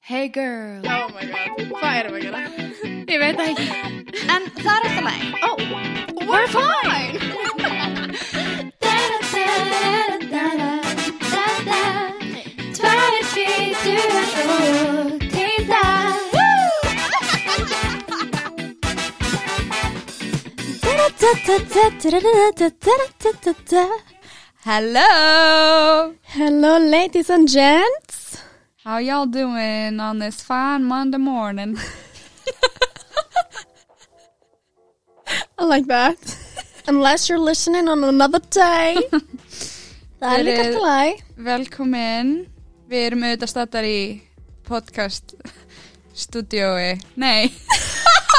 Hey girl Oh my god, hvað erum við að gera? Ég veit það ekki En það er alltaf læg Oh, we're fine! Tvær, tvítur og til það Hello! Hello ladies and gents How y'all doing on this fine Monday morning? I like that Unless you're listening on another day Það er Þið líka eruð- alltaf læg Velkomin, við erum auðvitað stattar í podcast stúdiói, nei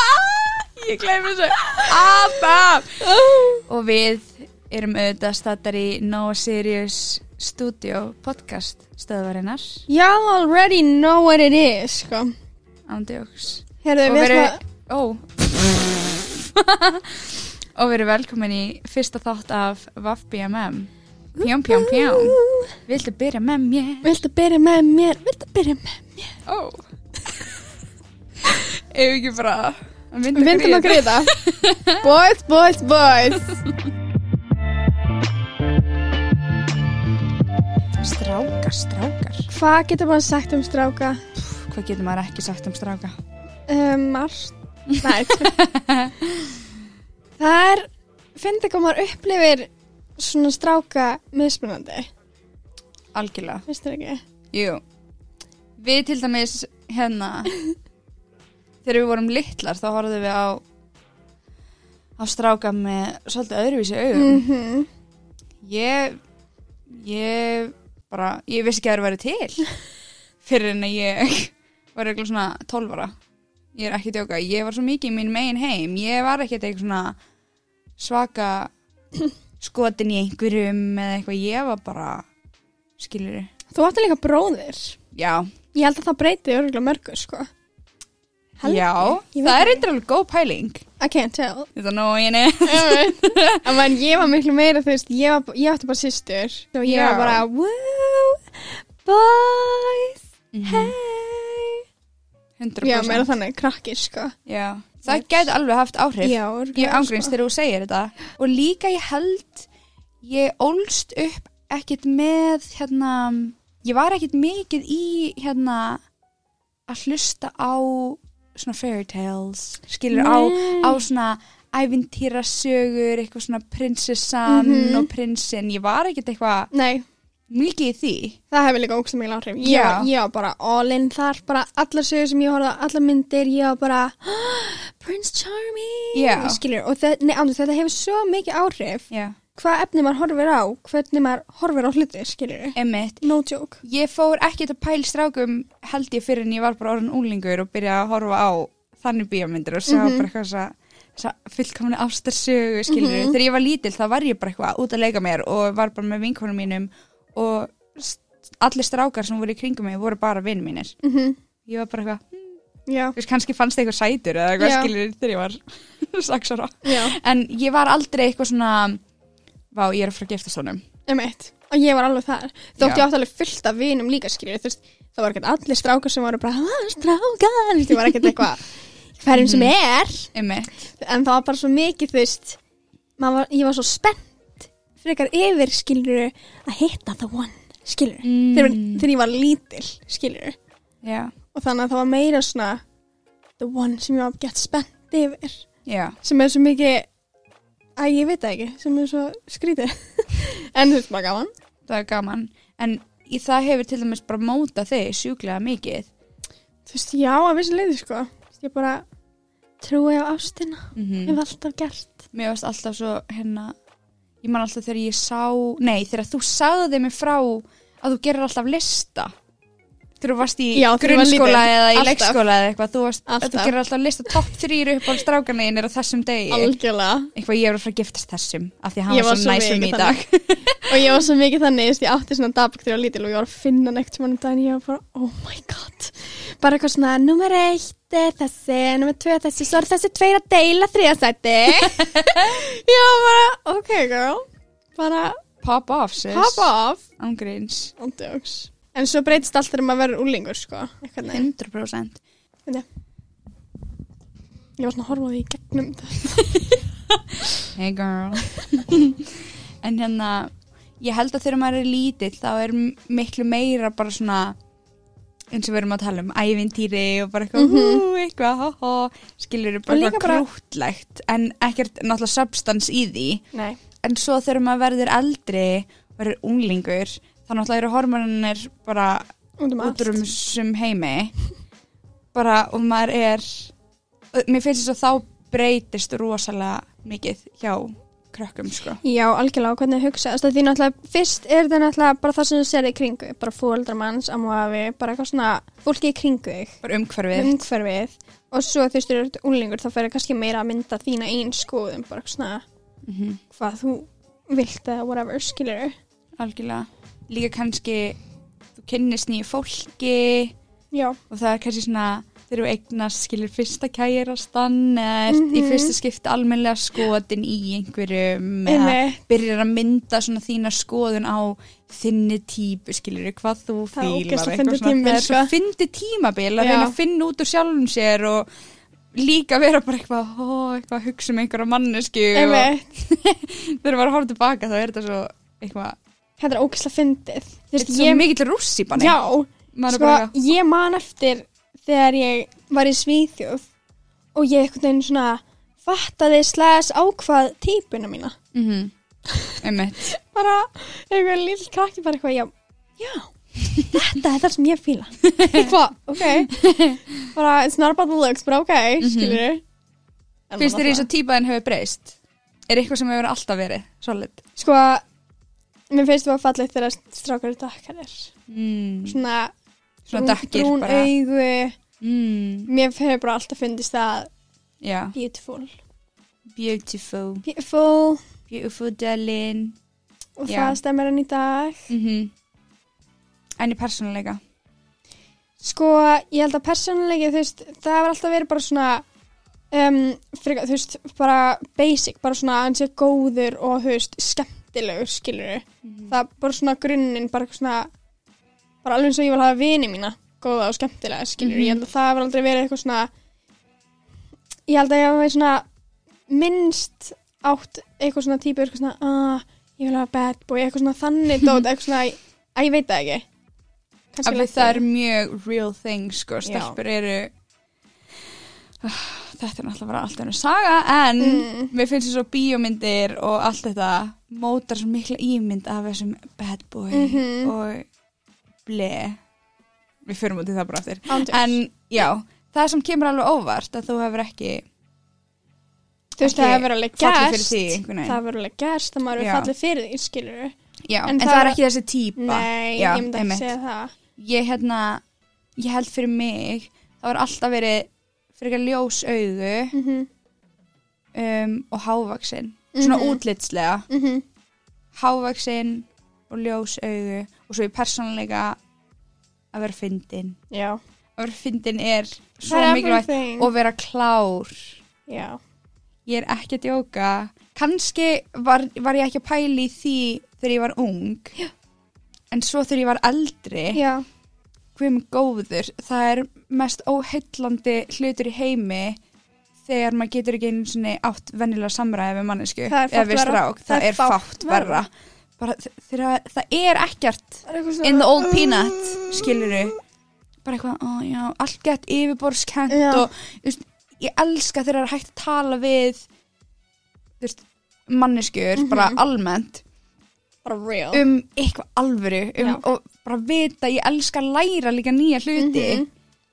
ég gleymi þessu alltaf og við erum auðvitað stattar í No Serious Studio podcast stöðvarinnar Y'all already know what it is sko. ándjóks Herðu, og við við erum erum ó og við erum velkomin í fyrsta þátt af Vaff BMM pjám pjám pjám viltu byrja með mér? Viltu byrja með mér? Viltu byrja með mér? Ó Ef ekki bara að Mynda Vindum að gríða Boys, boys, boys Strákar, strákar Hvað getur maður sagt um stráka? Hvað getur maður ekki sagt um stráka? Um, margt Nei Það er Fyndi hvað maður upplifir Svona stráka mismunandi Algjörlega Finnst þér ekki? Jú Við til dæmis hérna Þegar við vorum litlar þá horfðum við á á stráka með svolítið öðruvísi augum Mhm. Ég ég bara, ég vissi ekki að það væri til fyrir en að ég var eitthvað svona 12 ára ég er ekki að djóka, ég var svo mikið í mín megin heim ég var ekki eitthvað svona svaka skotin í einhverjum eða eitthvað, ég var bara skilur, Þú átti líka bróðir já Ég held að það breyti örgulega mörgu sko Held já, ég veit það er ekki. eitthvað alveg góð pæling I can't tell þetta er nóginni En man, ég var miklu meira þú veist Ég, var, ég átti bara systur Og ég Já. var bara Woo Boys Mhm. Hey 100% Já, meira þannig krakkir sko já. það gæti alveg haft áhrif Já, örugglega, Ég ángreins sko. þegar þú segir þetta og líka ég held ég ólst upp ekkit með hérna, ég var ekkit mikið í hérna að hlusta á svona fairy tales, skilur á, Nei. á svona ævintýra sögur, eitthvað svona prinsessan Mhm. og prinsinn, ég var ekkit eitthvað Nei, mikið í því Það hefur líka ógst mikil áhrif. Ég, Já. var, ég var bara all in þar, bara allar sögur sem ég horfði á, allar myndir, ég var bara Prince Charming, Já. skilur, og þe nei, andur, þetta hefur svo mikið áhrif. Já, Hvað efni maður horfir á, hvernig maður horfir á hlutir, skilur, emmitt no joke. Ég fór ekkert að pæl strákum held ég fyrir en ég var bara orðin úlingur og byrjaði að horfa á þannig bíómyndir og sjá bara eitthvað þessa- þessa fullkomni ástarsögu skilur. Þegar ég var lítil þá var ég bara eitthvað út að leika mér og var bara með vinkonum mínum og s- allir strákar sem voru í kringum mig voru bara vinn mínir. Mm -hmm. Ég var bara eitthvað, "Hm, Já, þú veist kannski fannst eitthvað sætur eða eitthvað Já. skilur þegar ég var sex ára. já, En ég var aldrei eitthvað svona, vá ég er að fara að gefta svonum. emitt. Og ég var alveg þar. Þótt Já. ég átti alveg fullt af vinum líka, skilur, þú veist, það var ekkert allir strákar sem voru bara, "Ah, strákar, þú veist, ég var ekkert eitthvað, hverjum sem Mhm. er. Einmitt. en það var bara svo mikið þú veist maður var, ég var svo spennt frekar yfir skiluru að hitta the one skiluru Mm. þegar, þegar ég var lítil skiluru Já, og þannig að það var meira svona the one sem ég var gett spennt yfir já, sem er svo mikið að ég veit það ekki sem er svo skrítið en þú veist maður gaman það er gaman en í það hefur til dæmis bara móta þig sjúklega mikið þú veist já að vissi leiði sko Þú veist, ég bara trúi á ástina ég mm hef alltaf gert mér varst alltaf svo hérna ég man alltaf þegar ég sá nei þegar þú sagði mig frá að þú gerir alltaf lista þegar þú varst í Já, þegar ég var grunnskóla lítil. eða í Alltaf. leikskóla eða eitthvað þú, varst, að þú Alltaf. gerir alltaf lista topp þrýr upp á strákanegin er á þessum degi algjörlega eitthvað ég er að fara að giftast þessum af því að Ég hann var var svo svo næsum í mikið dag Og ég var svo mikið þannig, þú veist, ég átti svona dagbók þegar ég var lítil og ég var að finna neitt sem hann um daginn, ég var bara, oh my god, bara eitthvað svona, nummer eitt er þessi, nummer tvö er þessi, svo er þessi tveir að deila þriðasæti. ég var bara, ok girl, bara pop off sis pop off. ángríns Andjóks. En svo breytist allt þegar maður verður úlingur, sko. Einhvern veginn. 100% Ég var svona að horfa á því í gegnum það. Hey girl En hérna Ég held að þegar maður er lítill þá er m- miklu meira bara svona eins og við erum að tala um ævintýri og bara eitthvað, mm eitthvað hó, hó, skilur Mhm. bara Og líka eitthvað bara- krútlegt en ekkert náttúrulega substance í því Nei. en svo þegar maður verður eldri verður unglingur þá náttúrulega eru hormonarnir bara Út um allt. út um sem heimi bara og maður er og mér finnst þess að þá breytist rosalega mikið hjá krökkum sko Já, algjörlega, og hvernig hugsa þess að því náttúrulega, fyrst er það náttúrulega bara það sem þú sér í kringu, bara fóldra manns, amuafi, bara eitthvað svona fólki í kringu þig, bara umhverfið umhverfið og svo þú styrir út úlingur þá fer það kannski meira að mynda þína einn skoðum, bara eitthvað svona mm -hmm. hvað þú vilt eða whatever, skilur algjörlega líka kannski þú kynnist nýju fólki Já, og það er kannski svona þeir eru eignast skilur fyrsta kærastan eða mm í Mhm. fyrsta skipti almennilega skotin í einhverjum eða einmitt, byrjar að mynda svona þína skoðun á þinni típu, skilur hvað þú Það er fílar ógeðslega eitthvað fyndið svona. tímabil, það er svo sko. fyndi tímabil að Já. reyna að finna út úr sjálfum sér og líka vera bara eitthvað, ó, eitthvað að hugsa um einhverja mannesku og einmitt þegar maður horfður tilbaka þá er þetta svo eitthvað, Þetta er ógeðslega fyndið Þú veist, þetta er svo ég- mikill rússi banni Já, maður er sko, bara eitthvað, ég man eftir þegar ég var í Svíþjóð og ég einhvern veginn svona fattaði slæðis ákvað típuna mína mhm einmitt, bara einhver lill krakki bara eitthvað, já, já þetta er það sem ég fíla eitthvað, ok bara, it's not about the looks, bara ok, mm -hmm. skilur Mhm. finnst þér eins og típaðin hefur breyst er eitthvað sem hefur alltaf verið solid sko, mér finnst það fallið þegar strákar er dökkanir mm. svona, svona dökkir brún bara augu mm. mér fyrir bara alltaf fundist það já, beautiful beautiful beautiful beautiful darling og Já. það stemmir enn í dag mm En í persónuleika Sko, ég held að persónulegi, þú veist, það hefur alltaf verið bara svona, um, frika, þú veist, bara basic, bara svona hans er góður og, þú veist, skemmtilegur, skilur Mhm. Það er bara svona grunninn, bara eitthvað svona, bara alveg eins og ég vil hafa vini mína, góða og skemmtilega, skilur Ég held Mhm. að það hefur aldrei verið eitthvað svona, ég held að ég hefur svona minnst átt eitthvað svona típu, eitthvað svona, ah, ég vil hafa bad boy, eitthvað svona þannig dót, eitthvað svona, að ég veit það ekki. Kannski Af því lent það í- er mjög real thing sko, Já. stelpur eru Ah, Þetta er náttúrulega bara allt ennum saga en Mm. mér finnst þess að bíómyndir og allt þetta mótar svo mikla ímynd af þessum bad boy Mhm. og ble Við förum út í það bara aftur Ándjóks. En já, það sem kemur alveg óvart að þú hefur ekki þú veist, ekki það hefur alveg fallið fyrir gerst því einhvern veginn. það hefur alveg gerst, það maður Já. hefur fallið fyrir því, skilur Já, en, En það, það er var- ekki þessi típa nei, Já, ég myndi einmitt. ekki segja það ég hérna ég held fyrir mig þá er alltaf verið frekar ljós augu mm -hmm. um, og hávaksin svona Mhm. útlitslega Mm -hmm. hávaksin og ljós augu og svo ég persónleika að vera fyndin já, að vera fyndin er svo það er mikilvægt everything og vera klár já, ég er ekki að djóka kannski var, var ég ekki að pæli því þegar ég var ung Já. en svo þegar ég var eldri já, Guð minn góður, það er mest óheillandi hlutur í heimi þegar maður getur ekki einu sinni átt venjulega samræði við mannesku Það er fátt við verra. strák, það, er fátt verra bara þ- þegar það er ekkert það er eitthvað in the old peanut, skiluru bara eitthvað, ó já, allt gett yfirborðskent Já. og þú veist, ég elska þegar það er hægt að tala við þú veist, manneskjur bara Mhm. almennt bara real um eitthvað alvöru um, Já. og bara vita, ég elska að læra líka nýja hluti Mhm.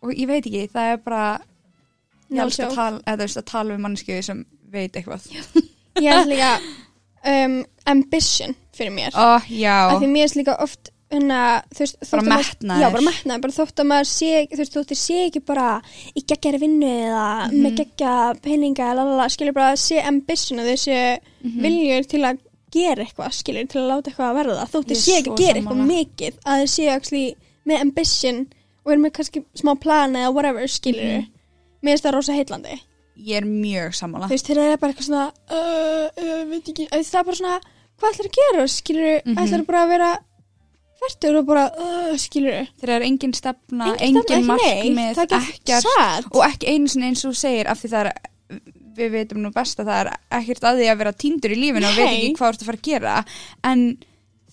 og ég veit ekki, það er bara ég No elska að joke. tala, eða, þú veist, að tala við mannsku sem veit eitthvað ég held líka um, ambition fyrir mér Ó, já, af því mér er líka oft hérna, þú veist, Bara þótt að maður- metnaður. já, bara metnaður, bara þótt að maður sé þú veist, þótt að sé ekki bara í geggjari vinnu eða Mhm. með geggja peninga lalala, skilur bara að sé ambition og þessi Mhm. viljur til að gera eitthvað, skilur, til að láta eitthvað að verða þótt Ég að er sé ekki svo að gera sammála. eitthvað mikið að þið sé actually með ambition og er með kannski smá plan eða whatever, skilur Mhm. mér finnst það rosa heitlandi ég er mjög sammála þú veist, þegar það er bara eitthvað svona uh, uh, veit ekki, að það er bara svona hvað ætlar að gera, skilur mm Mhm. ætlar bara að vera Hvert eru bara, uh, skilur þau? Þegar er engin stefna, Engin stefna, engin, ekki neitt, markmið, það er ekki ekkert satt. og ekki einu sinni eins og þú segir af því það er, við veitum nú best að það er ekkert að því að vera týndur í lífinu og veit Nei. ekki hvað þú ert að fara að gera en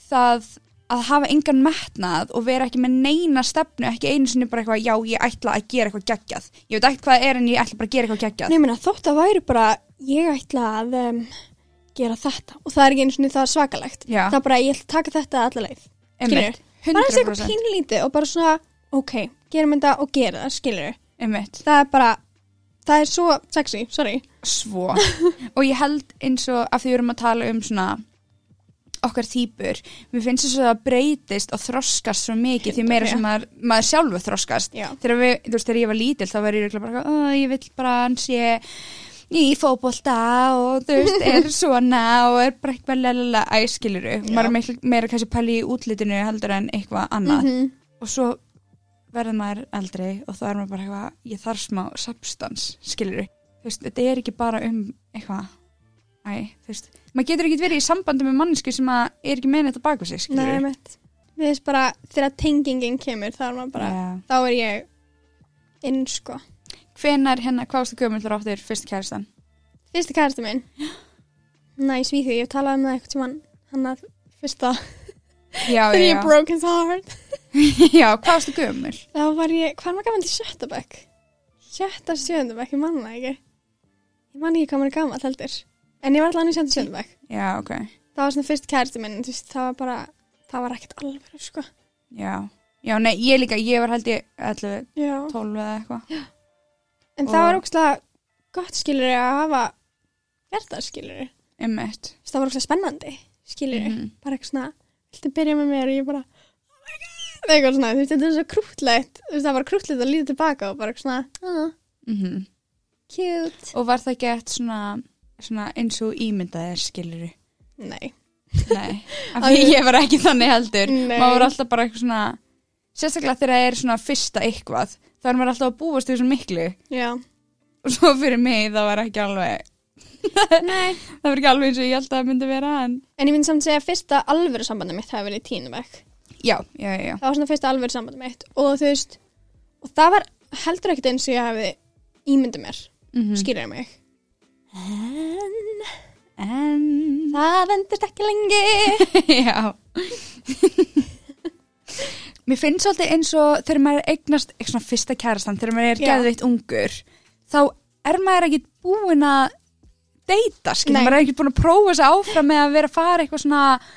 það að hafa engan metnað og vera ekki með neina stefnu, ekki einu sinni bara eitthvað já, ég ætla að gera eitthvað geggjað ég veit ekki hvað það er en ég ætla bara að gera eitthvað geggjað Nei, ég meina, þótt að væri bara, ég ætla að um, gera þetta og það er ekki einu svona það er svakalegt. Já. Það er bara, ég ætla að taka þetta alla leið. Einmitt. Skilur Bara þessi eitthvað pínlítið og bara svona, ok, gerum þetta og gera það, skilur einmitt, Það er bara, það er svo sexy, sorry. svo og ég held eins og af því við erum að tala um svona okkar týpur, mér finnst þess að það breytist og þroskast svo mikið því meira sem maður, maður sjálfu þroskast Já. þegar, við, þú veist, þegar ég var lítil þá var ég örugglega bara, "Ó, ég vill bara hans ég í fótbolta og þú veist, er svona og er bara eitthvað lalala æskiluru, maður er miklu- meira kannski pæli í útlitinu heldur en eitthvað annað Mhm. og svo verður maður eldri og þá er maður bara eitthvað, ég þarf smá substans, skilur þú veist, þetta er ekki bara um eitthvað æ, þú veist, maður getur ekki verið í sambandi með mannesku sem að er ekki meðin þetta baku sig, skilur Nei, mitt. Mér finnst bara, þegar tengingin kemur, þá er maður bara, þá er ég inn, sko. hvenar hérna, hvað varstu gömuldur áttir fyrst kærastan? Fyrsti kærasta minn. Næ, svíðu, ég talaði um það eitthvað tímann, hann að fyrsta, Já, já, þegar ég já, broke his heart. já hvað varstu gömul? Þá var ég, hvað var gaman til sjötta bekk? Sjötta, sjönda bekk, ég manna ekki. Ég man ekki hvað maður er gaman heldur. En ég var alltaf hann í sjönda, sjönda bekk. Já, ok, Það var svona fyrst kærasti minn, þú veist, það var bara, það var ekkert alveg, sko. já já, nei, ég líka, ég var held ég 11, Já. 12 eða eitthvað En það var Og- ógslag gott, skilur að hafa gert það, skilur ég. einmitt Það var ógslag spennandi, skilur ég. Mhm. Bara eitthvað svona, viltu byrja með mér og ég bara, oh my god, eitthvað svona, þú veist, þetta er svo krútlegt, þú veist, það var krútlegt að líða tilbaka og bara eitthvað svona, ah, mm cute. og var það gett svona, svona eins og ímyndaðir, skilur Nei. Nei, af því ég var ekki þannig heldur Nei. maður var alltaf bara eitthvað svona sérstaklega þegar það er svona fyrsta eitthvað þá er maður alltaf að búast við svona miklu Já. og svo fyrir mig það var ekki alveg Nei. það var ekki alveg eins og ég held að það myndi vera en En ég myndi samt segja að fyrsta alvöru sambandi mitt hafi verið í tínubæk. já, já, já, já, Það var svona fyrsta alvöru sambandi mitt og þú veist, og það var heldur ekkert eins og ég hafi ímyndið mér, mm mm. skýrðið mig. En en það vendist ekki lengi. já mér finnst svolítið eins og þegar maður er eignast eitthvað svona fyrsta kærastan þegar maður er Já. geðveitt ungur þá er maður ekki búin að deyta, skilur, Nei. maður er ekki búin að prófa þess áfram með að vera að fara eitthvað svona að,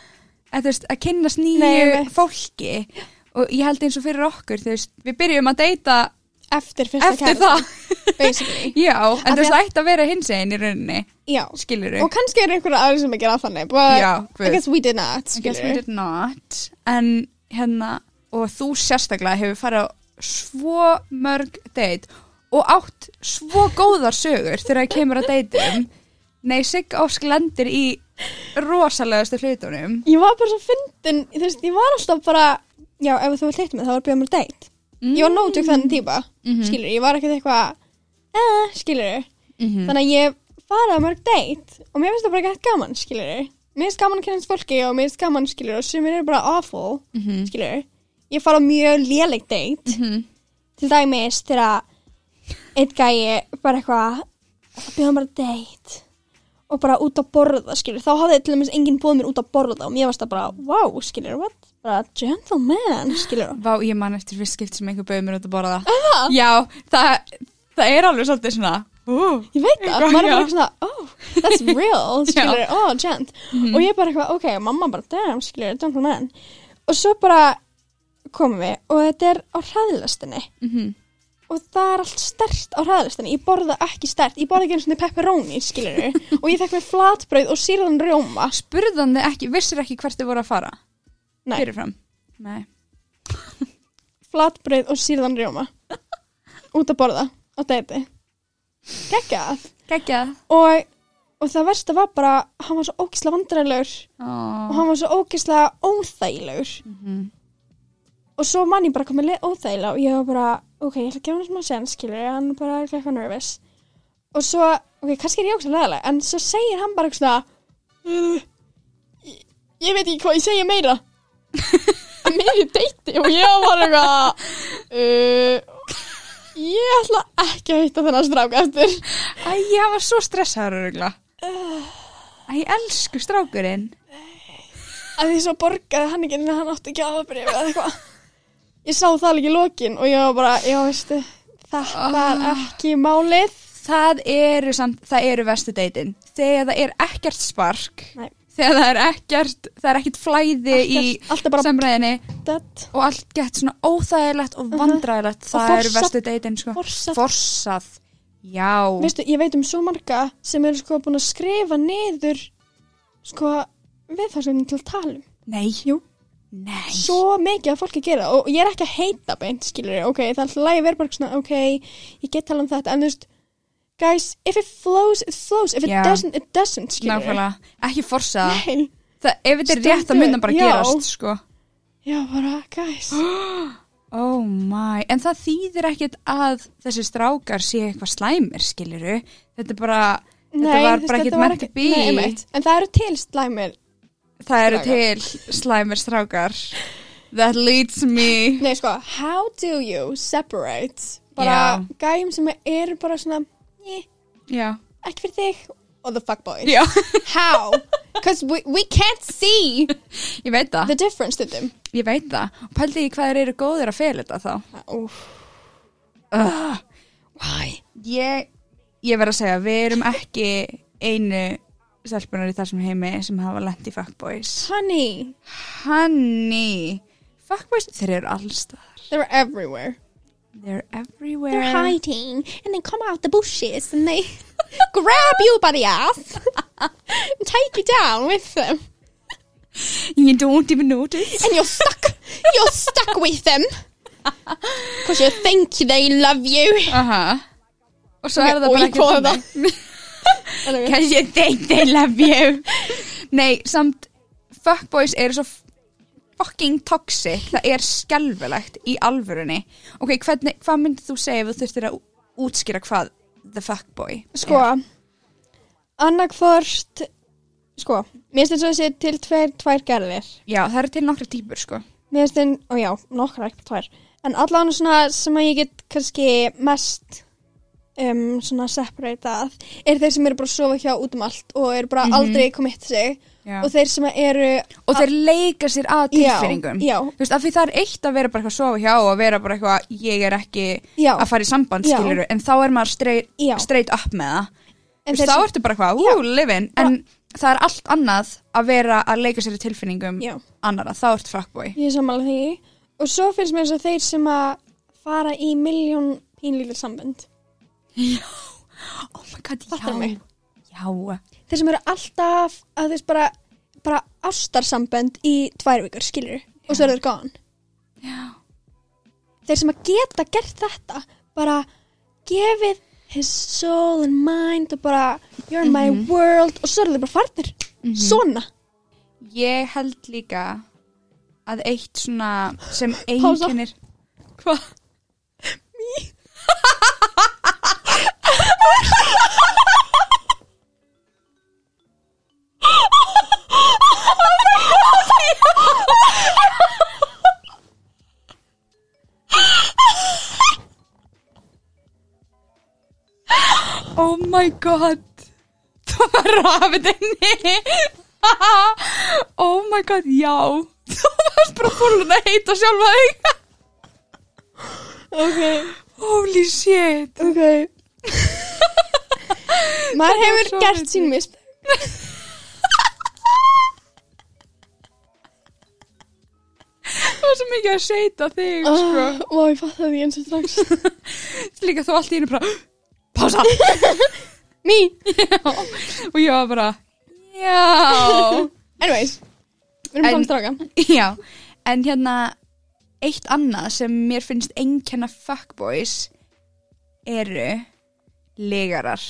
þú veist, að kynnast Nei, nýju einmitt. fólki og ég held eins og fyrir okkur þú veist, við byrjum að deyta Eftir fyrsta eftir það. Basically. það já, en Af þú því veist, ætti að vera hins einn í rauninni, Já. skilur Og kannski eru einhverja aðri sem ekki er að þannig, but Já, guð. I guess we did not, I guess we skilur. did not en hérna og þú sérstaklega hefur farið á svo mörg date og átt svo góðar sögur þegar það kemur að deitum nei, Sigg Ósk lendir í rosalegastu hlutunum Ég var bara svo fyndin, þú veist, ég var alltaf bara, já, ef þú vilt hitta mig, þá var bjóð mér date. Ég var nótjúk þannig típa, mm skilur, ég var ekkert eitthvað, eh, skilur. Mhm. þannig að ég fara á mörg date og mér finnst það bara ekki gaman, skilur mér finnst gaman að kynast fólki og mér finnst gaman, skilur og sumir eru bara awful, mm ég fara á mjög léleg date Mhm. til dæmis þegar einn gæi bara eitthvað bjóðum bara date og bara út að borða, skilur þá hafði til dæmis enginn búið mér út að borða og mér varst það bara, wow, skilur, what bara gentleman, skilur Vá, ég man eftir fyrst skipt sem einhver bauð mér út að borða það Já, það, það er alveg svolítið svona uh, ég veit það, Eitthvað, maður er bara já. eitthvað svona oh, that's real, skilur, oh, gent Mhm. og ég er bara eitthvað, ok, mamma bara damn, skilur, don't come in og svo bara komum við og þetta er á hraðlistinni Mhm. og það er allt stert á hraðlistinni ég borða ekki stert, ég borða ekki einu svona pepperoni skilur, og ég fekk mér flatbrauð og sírðan rjóma Burðan þið ekki, vissir ekki hvert þið voru að fara Nei. Fyrirfram Nei flatbrauð og sírðan rjóma út að borða á dæti geggjað Gægjað og, og það versta var bara hann var svo ógislega vandræðilegur og oh. hann var svo ógeðslega óþægilegur og svo mann ég bara komið leið óþægilega og ég var bara, ok, ég ætla að gefa hann smá sens skilur, ég, hann er bara er eitthvað nervous og svo, ok, kannski er ég ógeðslega leðilega en svo segir hann bara eitthvað svona "Uh, ég, ég veit ekki hvað ég segja meira en þriði deiti og ég var bara eitthvað uh, ég ætla ekki að hitta þennan strák eftir Æ, ég var svo stressaður örugla. Æ, elsku strákurinn. að því svo borgaði hann ekki en hann átti ekki aðabrif eða eitthvað ég sá það alveg í lokin og ég var bara, já veistu þetta er Ah. ekki málið Það eru samt, það eru vestu deytin. Þegar það er ekkert spark, Nei. þegar það er ekkert, það er ekkert flæði Ekkert- allt er í bara- samræðinni dött, og allt gett svona óþægilegt og vandræðilegt, það Mhm. Og eru forsað. vestu deytin, sko. forsað Forsað. Já. veistu, ég veit um svo marga sem eru sko búin að skrifa niður sko viðfarsveitin til talum Nei. Jú. Nei. svo mikið að fólki gera það og ég er ekki að heita beint, skilur ég, ok, það er alltaf lægi verið bara svona, ok, ég get tala um þetta en þú veist, guys, if it flows it flows, if it Já. doesn't, it doesn't skilur ég, Nákvæmlega. Ekki forsaða. Nei. Það, ef þetta er Stendur- rétt, það mun það bara já. gerast, sko. já, bara, guys Oh my, en það þýðir ekkert að þessi strákar sé eitthvað slæmir, skiluru. Þetta er bara, þetta Nei, var þú bara veist, ekkert þetta var meant to ekki- be. Nei, einmitt. En það eru til slæmir það eru strákar. til slæmir strákar. That leads me. Nei, sko, how do you separate bara Já. gæjum sem eru bara svona "Né, Já. ekki fyrir þig og the fuckboy Já, How? Because we, we can't see ég veit það, the difference to them ég veit það. Og Pældi ég hvað þeir eru góðir að fela þetta þá. Úf, Uh, why? ég, ég verð að segja, við erum ekki einu stelpunar í þessum heimi sem hafa lent í fuckboys. Honey, Hanni, fuckboys, þeir eru allstað. they're everywhere They're everywhere. They're hiding and they come out the bushes and they grab you by the ass and take you down with them You don't even notice. and you're stuck. you're stuck with them because you think they love you. Aha. Og svo Ok, er það og bara ég kom að þannig. Cause you think they love you. Nei, samt fuckboys eru svo fucking toxic. Það er skelfilegt í alvörunni. Ok, hvernig, hvað myndir þú segja ef þú þurftir að útskýra hvað the fuckboy Sko, er? annarkvort, sko, mér finnst þess að sé til tveir, tvær gerðir. Já, það eru til nokkra típur, sko. Mér finnst þinn, og já, nokkra ekki tvær. En allan svona sem að ég get kannski mest um, svona separatað er þeir sem eru bara að sofa hjá út um allt og eru bara aldrei komitt sig Já. og þeir sem að eru og þeir leika sér að Já, tilfinningum já. þú veist, af því það er eitt að vera bara eitthvað að sofa hjá og að vera bara eitthvað, ég er ekki Já. að fara í samband, Já. skilur en þá er maður straight, Já. straight up með það En þú veist, þeir þá sem- ertu bara eitthvað, ú, livin en það er allt annað að vera að leika sér að tilfinningum Já. annara, þá ertu fuckboy Ég er sammála því. Og svo finnst mér þess að þeir sem að fara í miljón pínlítil sambönd. oh my god, Fattar mig. já, já, Þeir sem eru alltaf að þeir bara, bara ástarsambönd í tvær vikur, skilur. Og svo eru þeir gone. já. Þeir sem að geta gert þetta, bara gefið his soul and mind og bara you're my Mhm. world og svo eru þeir bara farnir. Svona. Ég held líka að eitt svona sem Pása. einkennir Hva? Mí Oh my god Það var rafitinni Oh my god, já Þú varst bara fólun að heita sjálfa þig Ok. Holy shit Ok. Maður var hefur svo gert fyndið. sín mist. Það var svo mikið að seita þig sko. Uh, og ég fatt því eins og strax. Líka þú allt í einu bara Pása Me. Og ég var bara Já Anyways, við erum En- komin stráka. Já, en hérna eitt annað sem mér finnst einkenna fuckboys eru legarar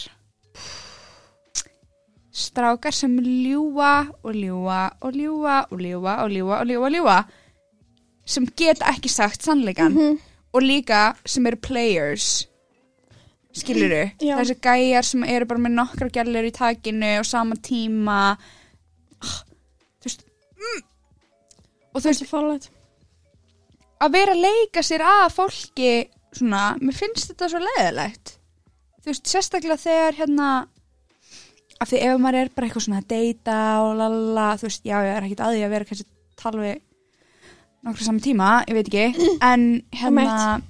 strákar sem ljúa og ljúa og ljúa og ljúa og ljúa og ljúa og ljúa sem geta ekki sagt sannleikan og líka sem eru players skilurðu Já. þessi gæjar sem eru bara með nokkra gælur í takinu og sama tíma Ah, þú veist mm. og þú veist Þessi fálætt. að vera að leika sér að fólki svona, mér finnst þetta svo leðilegt þú veist, sérstaklega þegar hérna af því ef maður er bara eitthvað svona að deyta og lalala, þú veist, já, ég er ekkit að því að vera kannski að tala við nokkru saman tíma, ég veit ekki en hérna Einmitt.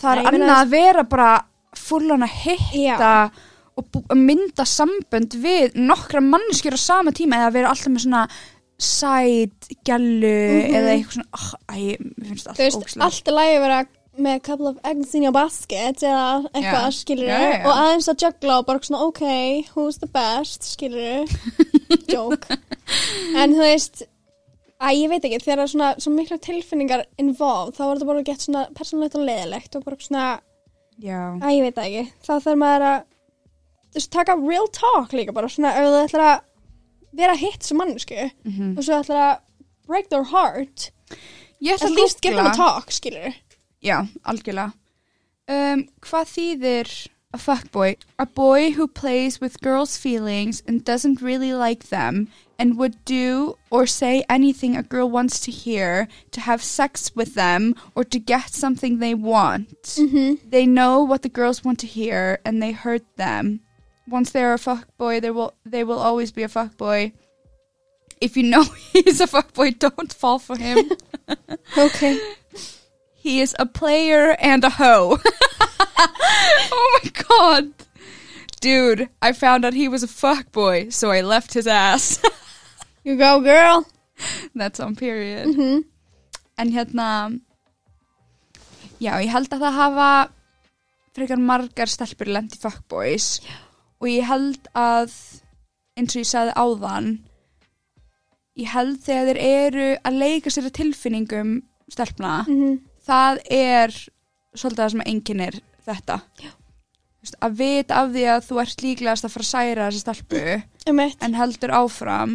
það Nei, er ég meina annað þess- að vera bara fullan að hitta Já. og bú- að mynda sambönd við nokkra manneskjur á sama tíma eða vera alltaf með svona sæt, gælu eða eitthvað svona oh, æ, mér finnst þú þetta veist, allt ógslag allt er lægi að vera með a couple of eggs in your basket eða eitthvað, Já. yeah. skilur Já, já, já. og aðeins að juggla og bara svona, ok, who's the best, skilur joke en þú veist að ég veit ekki, þegar það er svona svo mikla tilfinningar involved, þá var þetta bara gett svona persónlegt og leðilegt og bara svona Já, að ég veit það ekki, þá þarf maður að þú veist, taka real talk líka bara svona, ef þú ætlar að vera hitt sem mannsku Mhm. og svo ætlar að break their heart ég ætla at að least give them a googla talk, skilur Já, algjörlega um, Hvað þýðir a fuckboy? A boy who plays with girls' feelings and doesn't really like them and would do or say anything a girl wants to hear to have sex with them or to get something they want They know what the girls want to hear and they hurt them Once they're a fuckboy, they will, they will always be a fuckboy If you know he's a fuckboy, don't fall for him Ok, He is a player and a hoe. oh my god. Dude, I found out he was a fuckboy, so I left his ass. you go girl That's on period. En hérna, já, ég held að það hafa frekar margar stelpur lent í fuckboys. Og ég held að, eins og ég sagði áðan, ég held þegar þeir eru að leika sér að tilfinningum stelpna, það er svolítið það sem enginnir þetta Já. Þú veist, að vita af því að þú ert líklegast að fara að særa þessa stelpu um eitt en heldur áfram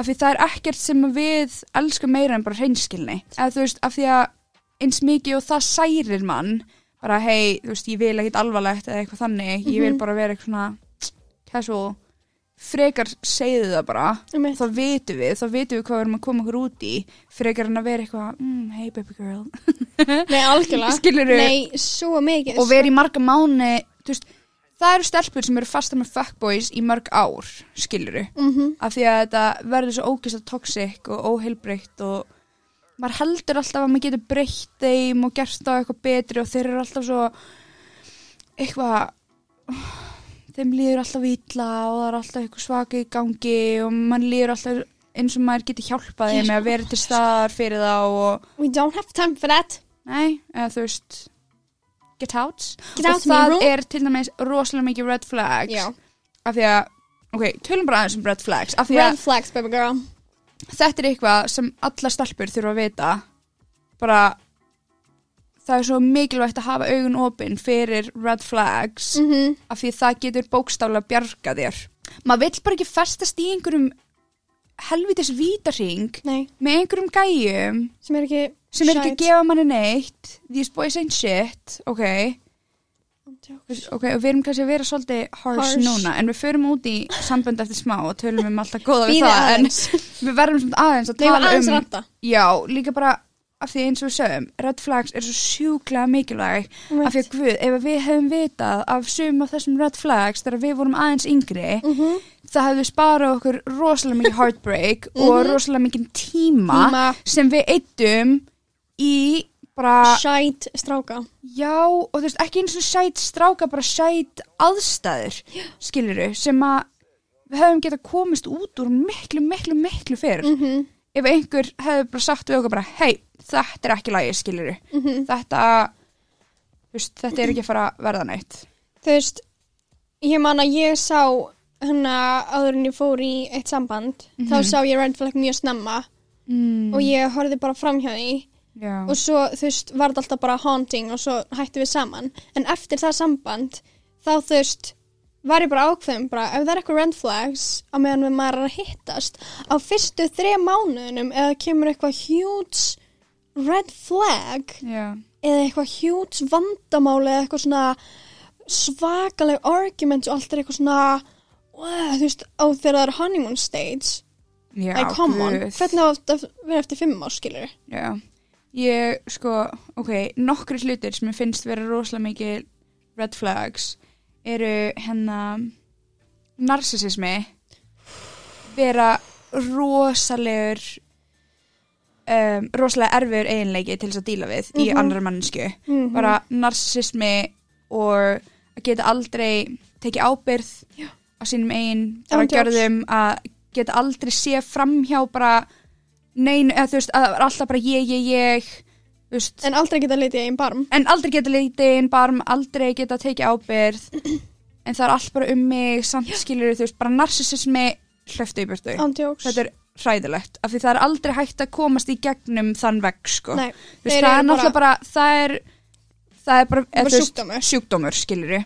af því það er ekkert sem við elskum meira en bara hreinskilni eða þú veist, af því að eins mikið og það særir mann bara hei, þú veist, ég vil ekkit alvarlegt eða eitthvað þannig, ég vil bara vera eitthvað svona casual frekar segðu það bara um eitt þá vitum við, þá vitum við hvað við erum að koma okkur út í frekar en að vera eitthvað mm, hey baby girl Nei, algjörlega Skilurðu? Nei, svo mikið og vera í marga mánu veist, það eru stelpur sem eru fasta með fuckboys í mörg ár, skiluru mm -hmm. af því að þetta verður svo ógæsta toxic og óheilbreytt og maður heldur alltaf að maður getur breytt þeim og gert þá eitthvað betri og þeir eru alltaf svo eitthvað þeim líður alltaf ítla og það er alltaf eitthvað svaka í gangi og mann líður alltaf eins og maður getur hjálpað þeim að vera til staðar fyrir þá og We don't have time for that Nei, eða þú veist Get out Get out Og of my það room. er til dæmis rosalega mikið red flags Já. Af því að Ok, tölum bara aðeins um red flags Af því að Red flags, baby girl þetta er eitthvað sem alla stelpur þurfa að vita Bara Það er svo mikilvægt að hafa augun opin fyrir red flags mm -hmm. af því það getur bókstálega bjarga þér. Maður vill bara ekki festast í einhverjum helvitis vítarring Nei, með einhverjum gæjum sem er ekki sem er ekki að Shite. gefa manni neitt these boys ain't shit ok, okay og við erum kannski að vera svolítið harsh, Harsh. núna en við förum út í sambönd eftir smá og tölum um alltaf góða við Bíðið það aðeins en við verðum svona aðeins að Nei, var tala aðeins um ranta já, líka bara af því eins og við sögum red flags er svo sjúklega mikilvæg um af því að guð, ef við hefum vitað af sum af þessum red flags þegar við vorum aðeins yngri Mhm. það hefði sparað okkur rosalega mikið heartbreak og rosalega mikið tíma, Mhm. Tíma. sem við eittum í bara Shite stráka Já, og þú veist, ekki eins og sæt stráka, bara sæt aðstæður, skiluru, sem að við höfum getað komist út úr miklu, miklu, miklu fyrr. mm -hmm. Ef einhver hefði bara sagt við okkur bara, hei, þetta er ekki lægi, skiluru. Mhm. Þetta, þú veist, þetta er ekki að fara að verða neitt. Þú veist, ég man að ég sá hana áður en ég fór í eitt samband þá sá ég red flag mjög snemma Mhm. Mm, og ég horfði bara framhjá því já, og svo þú veist var þetta alltaf bara haunting og svo hættum við saman en eftir það samband þá þú veist var ég bara ákveðum bara ef það er eitthvað red flags á meðan við maður er að hittast á fyrstu þrei mánuðunum eða kemur eitthvað huge red flag já, eða eitthvað huge vandamáli eða eitthvað svona svakaleg argument og allt er eitthvað svona uh, þú veist á þegar það er honeymoon stage já. like come on, guð. hvernig á þetta að vera eftir fimm áskilur Já, ég sko, ok, nokkri hlutir sem ég finnst vera rosalega mikið red flags eru hérna narsisismi vera rosalegur um, rosalega erfiður eiginleiki til þess að díla við í Mhm. annar mannsku Mm bara narsismi og að geta aldrei tekið ábyrð Já. á sínum eigin bara Án djóks. gjörðum að geta aldrei sé framhjá bara nein, eða þú veist, að það er alltaf bara ég, ég, ég þú veist, En aldrei geta litið í einn barm. en aldrei geta litið inn barm, aldrei geta tekið ábyrð en það er allt bara um mig samt skilur þú veist, bara narsisismi hlöftu í burtu, Andjóks. þetta er hræðilegt af því það er aldrei hægt að komast í gegnum þann vegg sko Nei, Þú veist, þeir það er eru náttúrulega bara, það er það er bara, eða bara þú veist, sjúkdómur. sjúkdómur skilur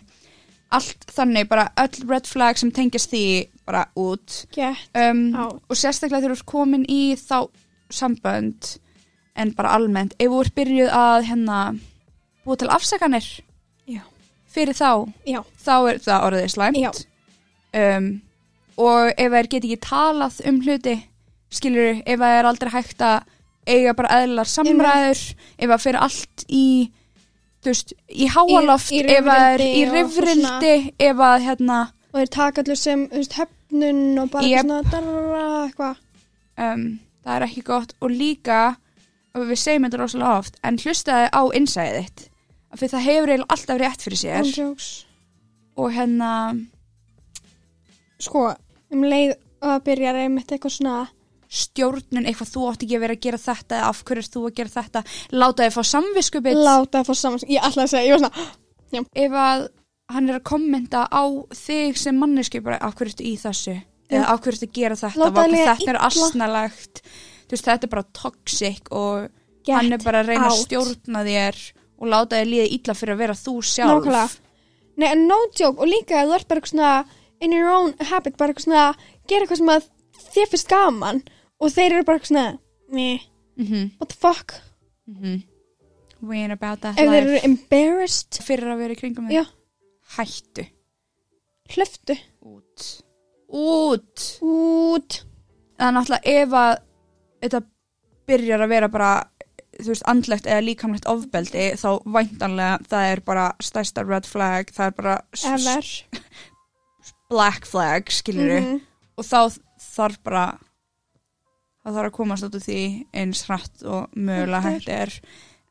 allt þannig, bara öll red flag sem tengjast því bara út Gett. um, Out. og sérstaklega þegar þú ert komin í þá sambönd en bara almennt, ef þú ert byrjuð að hérna, búa til afsakanir Já. fyrir þá, Já. þá er það orðið Já. slæmt um, og ef þær get ekki talað um hluti skilur, ef það er aldrei hægt að eiga bara eðlar samræður ef það fyrir allt í þú veist, í háaloft Í- í ef það er í rifrildi og rifrildi ef að hérna Og þeir taka allir sem, þú veist, höfnun og bara Jep. svona darra eitthvað. um, það er ekki gott og líka og við segjum þetta rosalega oft en hlustaði á innsæðið þitt af því það hefur eiginlega alltaf rétt fyrir sér Andjóks. og hérna Sko, um leið og það byrjar einmitt eitthvað svona stjórnun eitthvað þú átt ekki að vera að gera þetta eða af hverju er þú að gera þetta láta þið fá samviskubit láta það fór saman. Ég ætlaði að segja, ég var svona, ef að hann er að kommenta á þig sem manneski bara af hverju ertu í þessu eða af hverju ertu að gera þetta Láta Láta hann líða þetta er illa. asnalegt þú veist þetta er bara toxic og Get hann er bara að reyna að out. stjórna þér og láta þér líða illa fyrir að vera þú sjálf Nákvæmlega. Nei, en no joke, og líka þú ert bara eitthvað svona in your own habit, bara eitthvað svona gera eitthvað sem að þér finnst gaman og þeir eru bara eitthvað svona meh, mm -hmm. what the fuck we ain't about that ef þeir life eru embarrassed, fyrir að vera í kringum Já. þig hættu hlöftu út út út, það er náttúrulega ef að þetta byrjar að vera bara þú veist, andlegt eða líkamlegt ofbeldi þá væntanlega það er bara stærsta red flag, það er bara s- ever black flag, skilur Mhm. og þá þarf bara það þarf að komast út úr því eins hratt og mögulega Hægt hægt er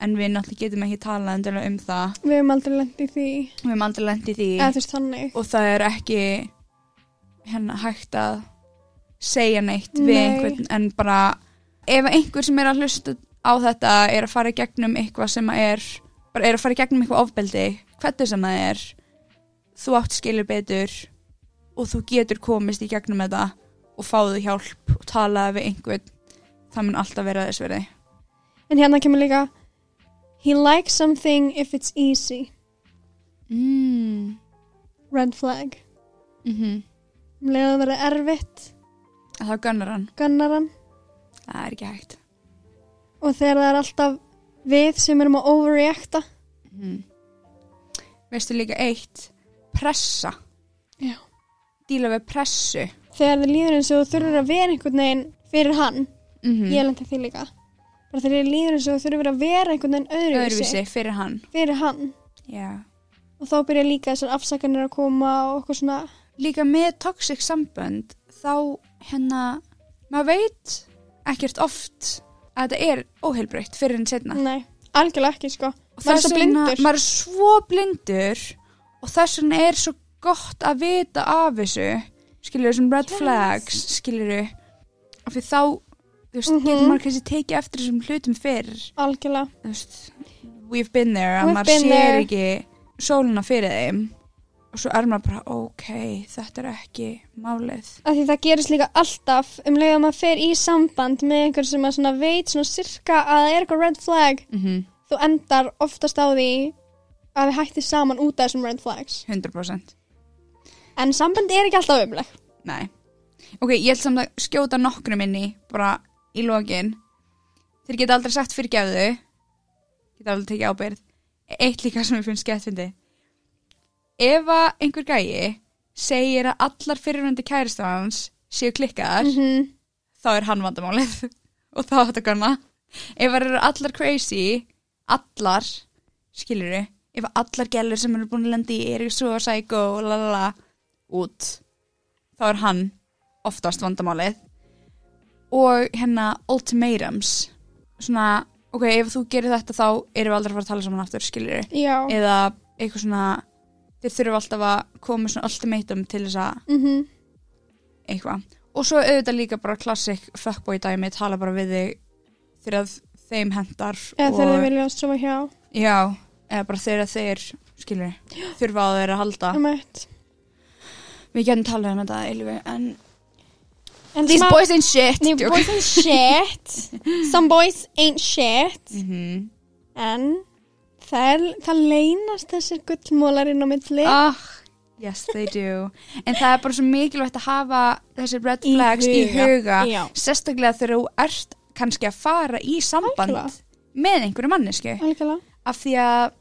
en við náttúrulega getum ekki talað endilega um það við hefum aldrei lent í því við erum aldrei lent í því eða þú veist þannig og það er ekki hérna hægt að segja neitt við Nei. einhvern en bara ef einhver sem er að hlusta á þetta er að fara í gegnum eitthvað sem að er bara er að fara í gegnum eitthvað ofbeldi hvernig sem það er þú átt skilur betur og þú getur komist í gegnum þetta og fáðu hjálp og talaði við einhvern það mun alltaf vera þess verið en hérna kemur líka he likes something if it's easy mm. red flag, mm -hmm. um leiðu að vera erfitt þá gunnar hann, gannar hann það er ekki hægt og þegar það er alltaf við sem erum að overreacta mm. veistu líka eitt pressa Já. díla við pressu þegar þið líður eins og þú þurfur að vera einhvern veginn fyrir hann, mm mm. ég lendi því líka bara þegar þið líður eins og þú þurfur að vera einhvern veginn öðruvísi, öðruvísi fyrir hann fyrir hann Já. og þá byrja líka þessar afsakanir að koma og okkur svona líka með toxic sambönd þá hérna maður veit ekkert oft að þetta er óheilbreytt fyrir en setna nei, algjörlega ekki sko og Maður er svo þess vegna- blindur. maður er svo blindur og þess vegna er svo gott að vita af þessu skilur þessum red Yes. flags skilur af því þá þú veist, Mhm. getur maður kannski tekið eftir þessum hlutum fyrr algjörlega, þú veist, we've been there að We've maður been sér there. ekki sóluna fyrir þeim og svo er maður bara, ok, þetta er ekki málið af því það gerist líka alltaf um leið að maður fer í samband með einhver sem að svona veit svona sirka að það er eitthvað red flag mm -hmm. þú endar oftast á því að við hætti saman út af þessum red flags 100% en samband er ekki alltaf umleg Nei. ok, ég held samt að skjóta nokkrum inn í bara í lokin þeir geta aldrei sagt fyrirgefðu geta aldrei tekið ábyrð eitt líka sem ég finnst skettfindi ef að einhver gæi segir að allar fyrirvöndi kæristu hans séu klikkaðar mm þá er hann vandamálið og þá átt að gunna ef það eru allar crazy allar, skilur ef allar gælur sem eru búin að lenda í eru svo psycho, lalala út, þá er hann oftast vandamálið og hérna ultimatums svona, ok, ef þú gerir þetta þá erum við aldrei að fara að tala saman aftur, skilur Já. eða eitthvað svona þeir þurfa alltaf að koma með svona ultimatum til þess að Mm -hmm. eitthvað og svo auðvitað líka bara klassik fuckboy dæmi tala bara við þig þegar að þeim hendar Eða og, þegar þið vilja að sofa hjá. já, eða bara þegar þeir skilur, þurfa á þeir að halda Einmitt. við getum talað um þetta Ylvi en En these smá- boys ain't shit These Djók. boys ain't shit. Some boys ain't shit. Mhm. En það, er, það leynast þessir gullmólar inn á milli. ah, yes they do en það er bara svo mikilvægt að hafa þessi red Í flags í huga, huga. Já. sérstaklega þegar þú ert kannski að fara í samband Algjörlega. með einhverju mannesku Algjörlega. af því að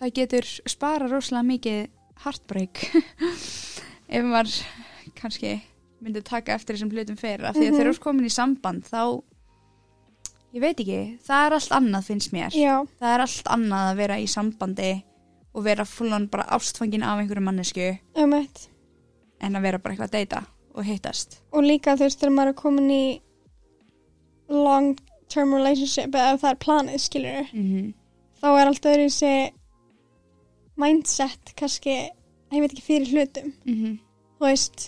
það getur spara rosalega mikið heartbreak ef maður kannski myndi taka eftir þessum hlutum fyrir af því að Mhm. þegar þú ert komin í samband þá ég veit ekki, það er allt annað finnst mér Já. það er allt annað að vera í sambandi og vera fullan bara ástfangin af einhverju mannesku Ömmet. en að vera bara eitthvað að deyta og hittast Og líka þú veist þegar maður er komin í long term relationship eða ef það er planið skilur mm -hmm. þá er allt öðru þessi mindset kannski, ég veit ekki fyrir hlutum Mm þú veist,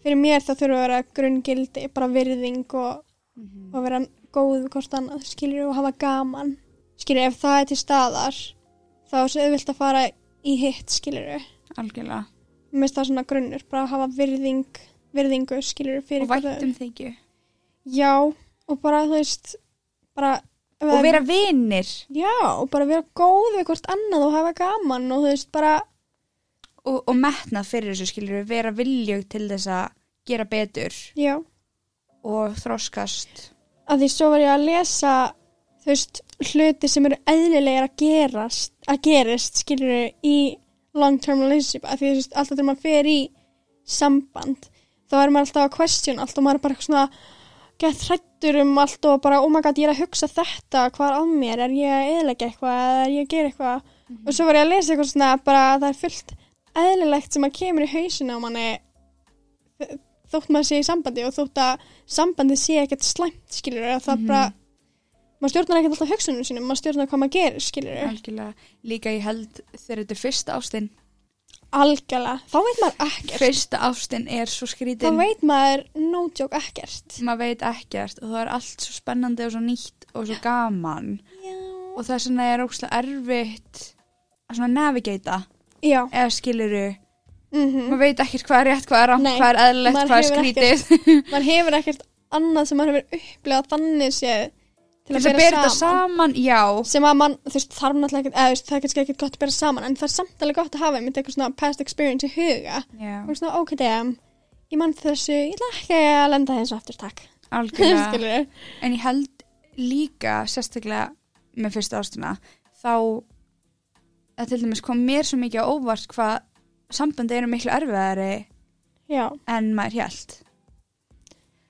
fyrir mér það þurfa að vera grunngildi, bara virðing og, -hmm. og vera góð við hvort annað, skilur og hafa gaman skilur, ef það er til staðar þá er svo auðvilt að fara í hitt skilur, algjörlega mér finnst það svona grunnur bara að hafa virðing, virðingu skilur fyrir og um. hvort öðru. vættum þykju Já, og bara þú veist bara ef og það- vera vinir Já, og bara vera góð við hvort annað og hafa gaman og þú veist bara og, og metnað fyrir þessu skilur við vera viljug til þess að gera betur Já, og þroskast að því svo var ég að lesa þú veist, hluti sem eru eðlilegir að gerast, að gerist skilur í long term relationship að því þú veist, alltaf þegar maður fer í samband, þá er maður alltaf að question allt og maður er bara eitthvað svona gett hrættur um allt og bara oh my god, ég er að hugsa þetta, hvað er á mér er ég að eðlega eitthvað, eða er ég að gera eitthvað og svo var ég að lesa eitthvað svona bara að það er fullt eðlilegt sem að kemur í hausinu á manni þ- þótt maður sé í sambandi og þótt að sambandi sé ekkert slæmt, skilur að það Mhm. bara maður stjórnar ekkert alltaf hugsunum sínum, maður stjórnar hvað maður gerir, skilur algjörlega líka ég held þegar þetta er fyrsta ástinn algjörlega, þá veit maður ekkert fyrsta ástinn er svo þá skrítin veit maður no joke ekkert maður veit ekkert og það er allt svo spennandi og svo nýtt og svo gaman Já, og þess vegna er ókslega erfitt að svona navigata Já. eða skiluru, Mm maður veit ekkert hvað er rétt, hvað er rangt, Nei, hvað er eðlilegt, maður hvað er hefur skrítið maður hefur ekkert annað sem maður hefur upplifað þannig séð til að til þess bera að bera þetta saman, já sem að mann, þú veist, þarf náttúrulega ekkert, eða þú veist, það er kannski ekkert gott að bera saman, en það er samt alveg gott að hafa einmitt eitthvað svona past experience í huga. já, Og svona, ok, damn, ég mann þessu, ég ætla ekki að lenda þessu aftur, takk. algjörlega Skilur En ég held líka sérstaklega með fyrsta ástina þá að til dæmis kom mér svo mikið á óvart hvað sambandi eru miklu erfiðari Já, en maður held.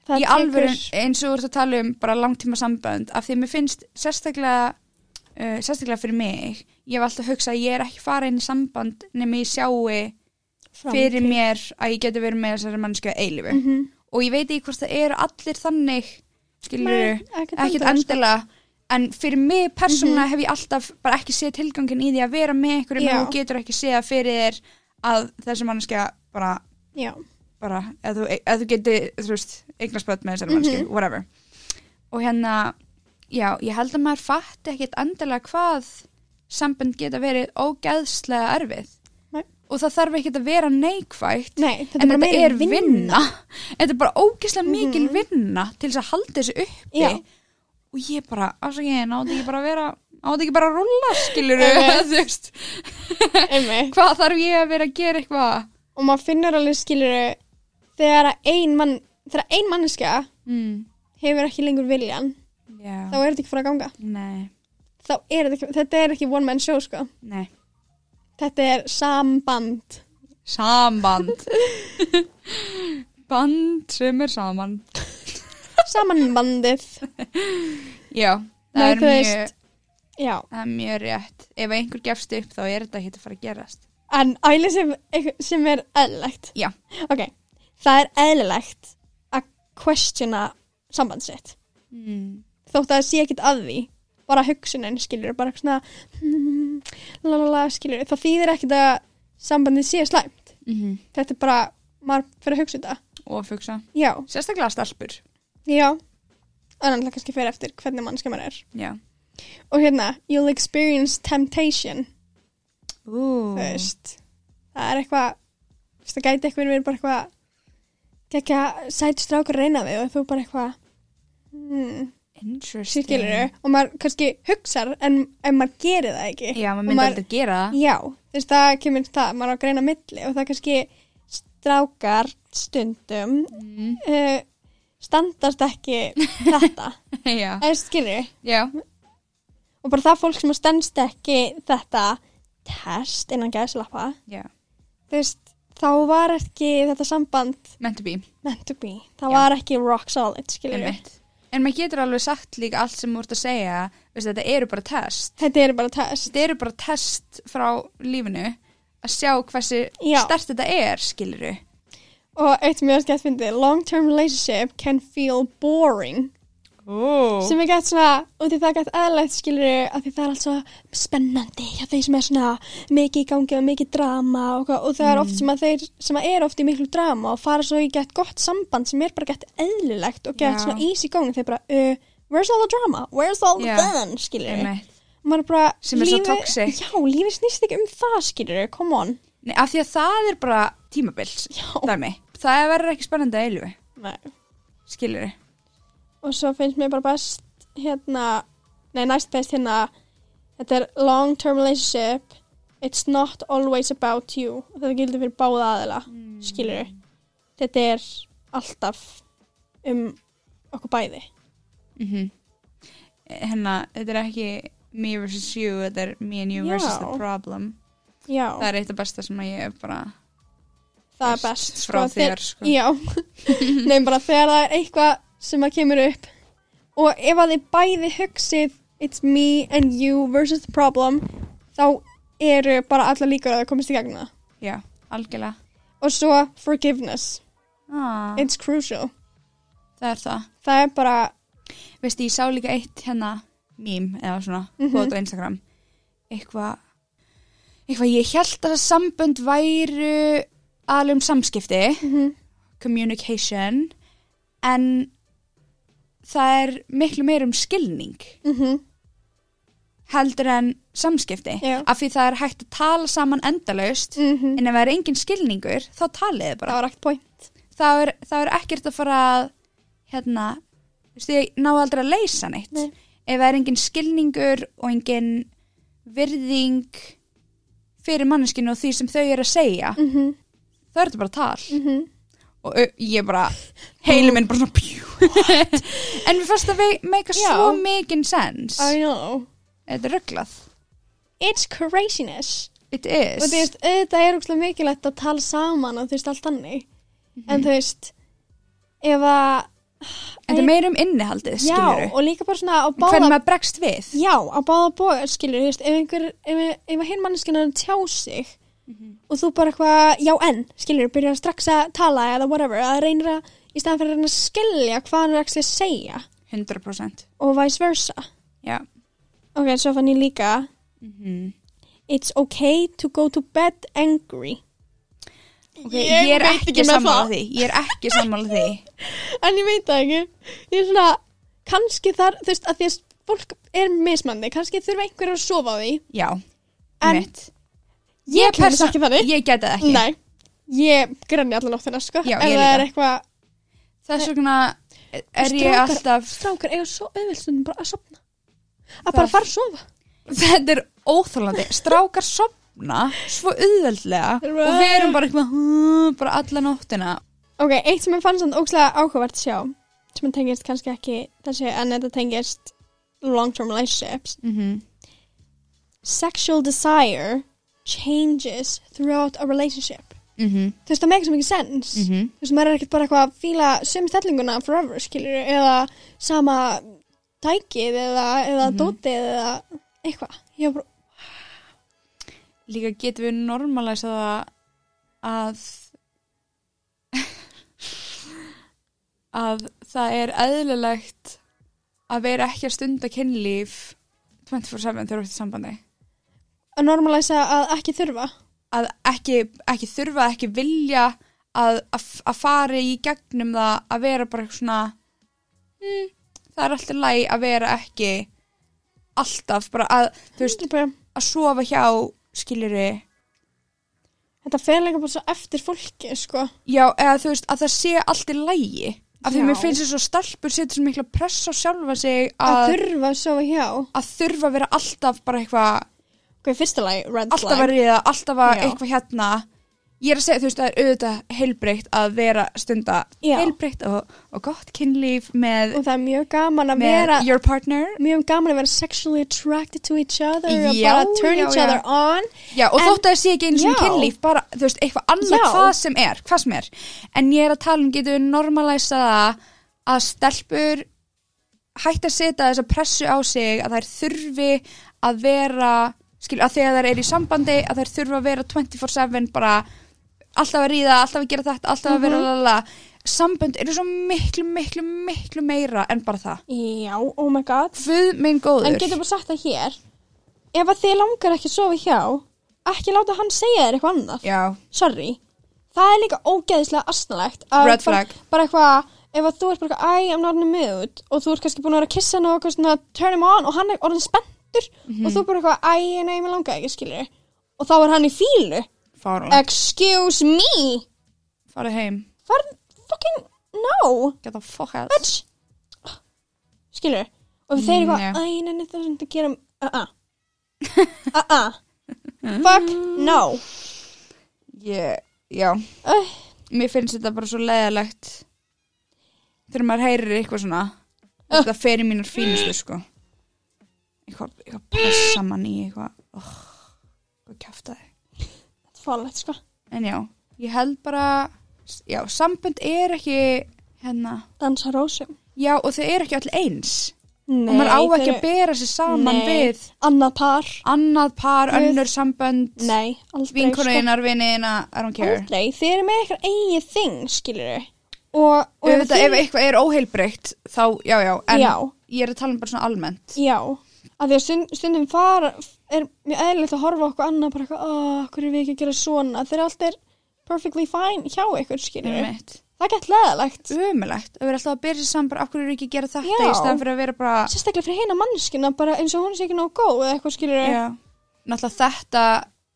það í alvöru eins og þú ert að tala um bara langtíma sambönd af því að mér finnst sérstaklega uh, sérstaklega fyrir mig ég hef alltaf hugsað að ég er ekki fara inn í samband nema ég sjái fram fyrir til- mér að ég geti verið með þessari mannsku að eilifu Mhm. og ég veit ekki hvort það eru allir þannig skilur Nei, ekkert ekkert endilega, sko. Mhm. endilega en fyrir mig persónulega hef ég alltaf bara ekki séð tilgangin í því að vera með einhverjum Já. og getur ekki séð að fyrir þér að þessi mannskja bara, Já, bara eða þú, eð þú geti, þú veist, eignarspöld með þessari Mhm. mannskja, whatever og hérna, já, ég held að maður fatti ekkert endilega hvað sambund geta verið ógeðslega erfið Nei. og það þarf ekkert að vera neikvægt nei, þetta en er bara þetta meira er vinna. Mhm. þetta er bara ógeðslega mikil vinna til þess að halda þessu uppi Já. og ég bara, afsakið, náðu ekki bara að vera náðu ekki bara að rúlla, skilur Einmitt. þú veist, Einmitt. hvað þarf ég að vera að gera eitthvað Og maður finnur alveg, skilur þegar að ein mann, þegar að ein manneska mm. hefur ekki lengur viljan, já, þá er þetta ekki fara að ganga. nei, Þá er þetta ekki, þetta er ekki one man show, sko. nei Þetta er samband. samband band sem er saman Samanbandið. já, það Nei, er þú mjög veist. Já, það er mjög rétt, ef einhver gefst upp þá er þetta ekki að fara að gerast en æli sem, sem er eðlilegt. já, Ok, það er eðlilegt að questiona sambandsitt. mm. Þótt að það sé ekkit að því. Bara hugsunin skilur, bara eitthvað svona hmm, lalala skilur. Það þýðir ekkit að sambandið sé slæmt. Mm -hmm. Þetta er bara, maður fyrir að hugsa um þetta. og fugsa, Já, sérstaklega stelpur já. En annað kannski fyrir eftir hvernig mannska maður er. já, Og hérna, you'll experience temptation. Ú. Mm. þú veist það er eitthvað þú veist, það gæti eitthvað verið bara eitthvað gekka sæti strákur að reyna við og þú bara eitthvað hmm, interesting skilur og maður kannski hugsar en, en maður gerir það ekki já, maður Og myndi maður- aldrei gera það já, þú veist það kemur það maður á að greina á milli og það kannski strákar stundum mm. uh, standast ekki þetta já, eða skilur já, og bara það fólk sem stendst ekki þetta test innan gæðslappa já þú veist, þá var ekki þetta samband meant to be, meant to be. Það Já. var ekki rock solid, skiljum við. einmitt en maður getur alveg sagt líka allt sem þú ert að segja veist, þetta eru bara test Þetta eru bara test. þetta eru bara test frá lífinu að sjá hversu Já. stert þetta er, skiluru Og eitt mjög skemmt fyndið, long-term relationship can feel boring. oh. Sem er gætt svona, út í það gætt eðlægt skilur af því það er allt svo spennandi hjá þeir sem er svona mikið í gangi og mikið drama og, hvað, og það Mm. er oft sem að þeir sem að er oft í miklu drama og fara svo í gætt gott samband sem er bara gætt eðlilegt og gætt Já. svona easy going. Þeir bara, uh, where's all the drama? Where's all the Já. fun? Skilur við. maður er bara Sem er svo lífið- toxic. já, lífið snýst ekki um það skilur, come on Nei, af því að það er bara tímabils já. dæmi, það verður ekki spennandi að eilu Nei. skiluru, og svo finnst mér bara best hérna, nei næst best hérna þetta er long term relationship it's not always about you og þetta gildur fyrir báða aðila mm. skilur, þetta er alltaf um okkur bæði mm Mhm. hennar, Hérna, þetta er ekki me versus you, þetta er me and you Já. versus the problem já, það er eitt af besta sem að ég er bara það er best frá þeir- þér sko. Já, nefn bara þegar það er eitthvað sem að kemur upp og ef að þið bæði hugsið it's me and you versus the problem þá eru bara alla líkur að það komist í gegna já, algjörlega og svo forgiveness, ah, it's crucial það er það það er bara, veist ég sá líka eitt hérna mím eða svona, mm Mhm. á Instagram eitthvað eitthvað ég held að sambönd væru alveg um samskipti Mhm. communication en það er miklu meir um skilning mhm, heldur en samskipti Já. af því það er hægt að tala saman endalaust mhm en ef það er engin skilningur þá talið þið bara það var ekkert point þá er, þá er ekkert að fara að hérna, þú veist, ég ná aldrei að leysa neitt Nei. ef það er engin skilningur og engin virðing fyrir manneskinu og því sem þau eru að segja mhm, þá er þetta bara tal mhm, og ö, ég bara, heilum minn bara svona pjú en við fannst að við meika Já. svo mikinn sens I know þetta er rugglað it's craziness it is og þú veist, auðvitað er úkslega mikilvægt að tala saman og þú veist, allt þannig en þú veist ef að þetta er meira um innihaldið Já, skilur og líka bara svona á hvernig báða maður bregst við Já, á báða bóða, skilur, þú veist, ef einhver, ef, ef hinn manneskinn er að tjá sig og þú bara eitthvað, já en, skilur, byrjar strax að tala eða whatever, að reynir að, í staðan fyrir að reyna að skilja hvað hann er ekki að segja 100% og vice versa. já Ok, svo fann ég líka, mm it's okay to go to bed angry. Okay, ég, er veit ekki með sammála það. því Ég er ekki sammála því En ég veit það ekki, ég er svona, kannski þar, þú veist, að því að fólk er mismandi, kannski þurfa einhver að sofa á því, Já, en mitt ég kemur perso- ekki þannig. Ég geta það ekki Nei, ég grenni allan nóttina sko Já, Ef ég það er líka. eitthvað Þess vegna er ég Strákar- alltaf Strákar eiga svo auðvildstundum bara að sopna Að Það- bara fara að sofa Þetta er óþólandi Strákar sopna svo auðveldlega Right. og við erum bara eitthvað "Hú", bara alla nóttina Ok, eitt sem ég fann svona ókslega áhugavert sjá sem tengist kannski ekki þessi en þetta tengist long-term relationships mm -hmm. Sexual desire changes throughout a relationship Mm -hmm. Þú veist, það make svo mikið sens Mhm. Þú veist, maður er ekkert bara eitthvað að fíla sömu stellinguna forever, skilur, eða sama tækið eða, eða Mhm. dótið eða eitthvað. Ég var bara, líka getum við normalæsa það að að það er eðlilegt að vera ekki að stunda kynlíf 24-7 þegar þú ert í sambandi að normalæsa að ekki þurfa. að ekki, ekki þurfa ekki vilja að, að, að fara í gegnum það að vera bara eitthvað svona mm, það er alltaf læg að vera ekki alltaf bara að, þú veist, Ég Bara, að sofa hjá skiljuru þetta fer líka bara svo eftir fólki, sko. Já, eða þú veist, að það sé allt í lægi. Af því Já. mér finnst þess að stelpur setur svo mikla press á sjálfa sig Að, að, þurfa að sofa hjá. að þurfa að vera alltaf bara eitthvað, Hvað er fyrsta lagi? Red alltaf að flag. riða, alltaf að Já. eitthvað hérna. Ég er að segja, þú veist, það er auðvitað heilbreytt að vera stunda Já. heilbreytt og, og gott kynlíf með, Og það er mjög gaman að með vera, your partner. mjög gaman að vera sexually attracted to each other og Já, bara turn já, each já. other on. Já, og En- þótt að það sé ekki einu svona Já. kynlíf, bara, þú veist, eitthvað annað Já. hvað sem er, hvað sem er. En ég er að tala um, getur við normalæsa það að stelpur hætt að setja þessa pressu á sig að þær þurfi að vera, skil, að þegar þær eru í sambandi, að þær þurfi að vera 24-7 bara alltaf að ríða, alltaf að gera þetta, alltaf að vera Mhm. lalala. Sambönd eru svo miklu, miklu, miklu meira en bara það. Já, oh my god. Guð minn góður. En getur bara sagt það hér. Ef að þið langar ekki að sofa hjá, ekki láta hann segja þér eitthvað annað. Já, sorry það er líka ógeðislega astnalegt að Red bara, flag. bara eitthvað, ef að þú ert bara eitthvað æ, I'm not in the mood og þú ert kannski búin að vera að kissa hann og eitthvað svona turn him on og hann er orðin spenntur og þú bara eitthvað æ, nei, mér langaði ekki, skilur og þá er hann í fílu fara, excuse me fara heim. farð fucking no Get the fuck out. bitch skilur og þeir eru Mm, eitthvað æ, nei, nei, það er svona að gera uh-uh uh-uh fuck no Ég, já. uh, mér finnst þetta bara svo leiðilegt þegar maður heyrir eitthvað svona Ah. þetta fer í mínar fínustu sko eitthvað, eitthvað pressa mann í eitthvað oh, hvað kæfta þig þetta er fólegt sko en já, ég held bara já, sambönd er ekki hérna, dansa á rósum já og þau eru ekki allir eins Nei, og maður á ekki þeir- að bera sér saman Nei. við Annað par annað par, Guð. önnur sambönd Nei, sko- aldrei vinkonuðinar, viniðina, I don't sko. care Aldrei, þið eru með eitthvað eigið þing, skilur þau Og, og ef auðvitað ef eitthvað er óheilbreytt þá, já, já, en Já. ég er að tala um bara svona almennt Já, af því að stund, stundum fara Er mjög eðlilegt að horfa á okkur annað Bara eitthvað, að hverju við ekki að gera svona Þeir allt er perfectly fine hjá ykkur, skilur þau Einmitt. Það er gett leðalegt Umulegt, að vera alltaf að byrja sér saman bara af hverju er ekki að gera þetta Já. í staðan fyrir að vera bara Sérstaklega fyrir hina mannskina Bara eins og hún sé ekki nóg góð Eða eitthvað, skilur þau já, náttúrulega þetta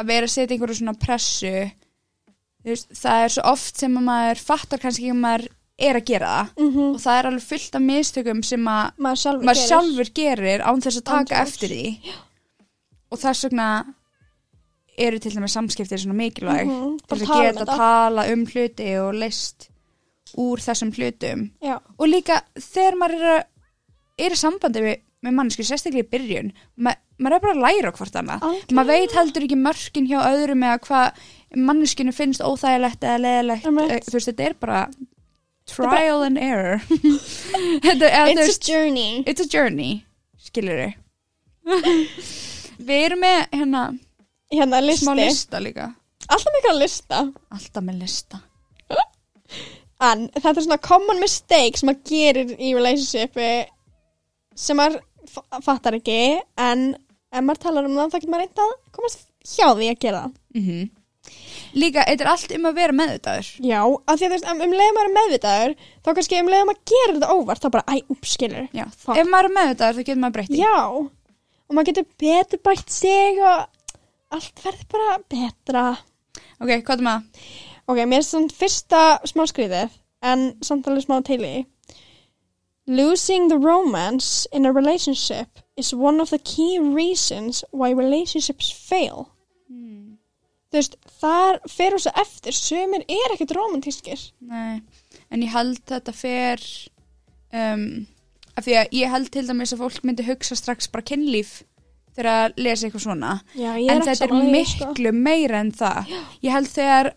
að vera að setja einhverju svona pressu þú veist, það er svo oft sem að maður fattar kannski ekki að maður er að gera það Mhm. og það er alveg fullt af mistökum sem að Maður sjálfur maður gerir. sjálfur gerir án þess að Án taka þess. eftir því og þess vegna eru til dæmis samskiptir svona mikilvæg mm Mhm, bara til þess að tala um geta þetta. tala um hluti og list úr þessum hlutum Já, og líka þegar maður er, að, er í sambandi með, með mannsku sérstaklega í byrjun ma, maður er bara að læra á hvort annað Algjörlega. maður veit heldur ekki mörkin hjá öðrum eða hvað manneskinu finnst óþægilegt eða leðilegt Einmitt. þú veist þetta er bara trial and error þetta, eða, þú it's veist, a journey it's a journey skilur þau við erum með hérna Hérna, smá listi lista líka Alltaf mikil að lista alltaf með lista En þetta er svona common mistake sem maður gerir í relationshipi sem maður f- fattar ekki en ef maður talar um það þá getur maður reynd að komast hjá því að gera það. mm líka, þetta er allt um að vera meðvitaður Já, af því að þú veist, um, um leiðum maður er meðvitaður þá kannski um leiðum maður gerir þetta óvart þá bara, æ, upp, skilur. Já, Fuck. ef maður er meðvitaður þá getur maður breytti Já, og maður getur betur bætt sig og allt verður bara betra. Ok, hvað er maður? Ok, mér er svona fyrsta smá skrýðið, en samt alveg smá til í. Losing the romance in a relationship is one of the key reasons why relationships fail. Þú veist, þar fer þú svo eftir, sömur er ekkert romantískir. Nei, en ég held þetta fer um, af því að ég held til dæmis að fólk myndi hugsa strax bara kynlíf þegar að lesa eitthvað svona Já, en þetta er miklu sko. meira en það ég held þegar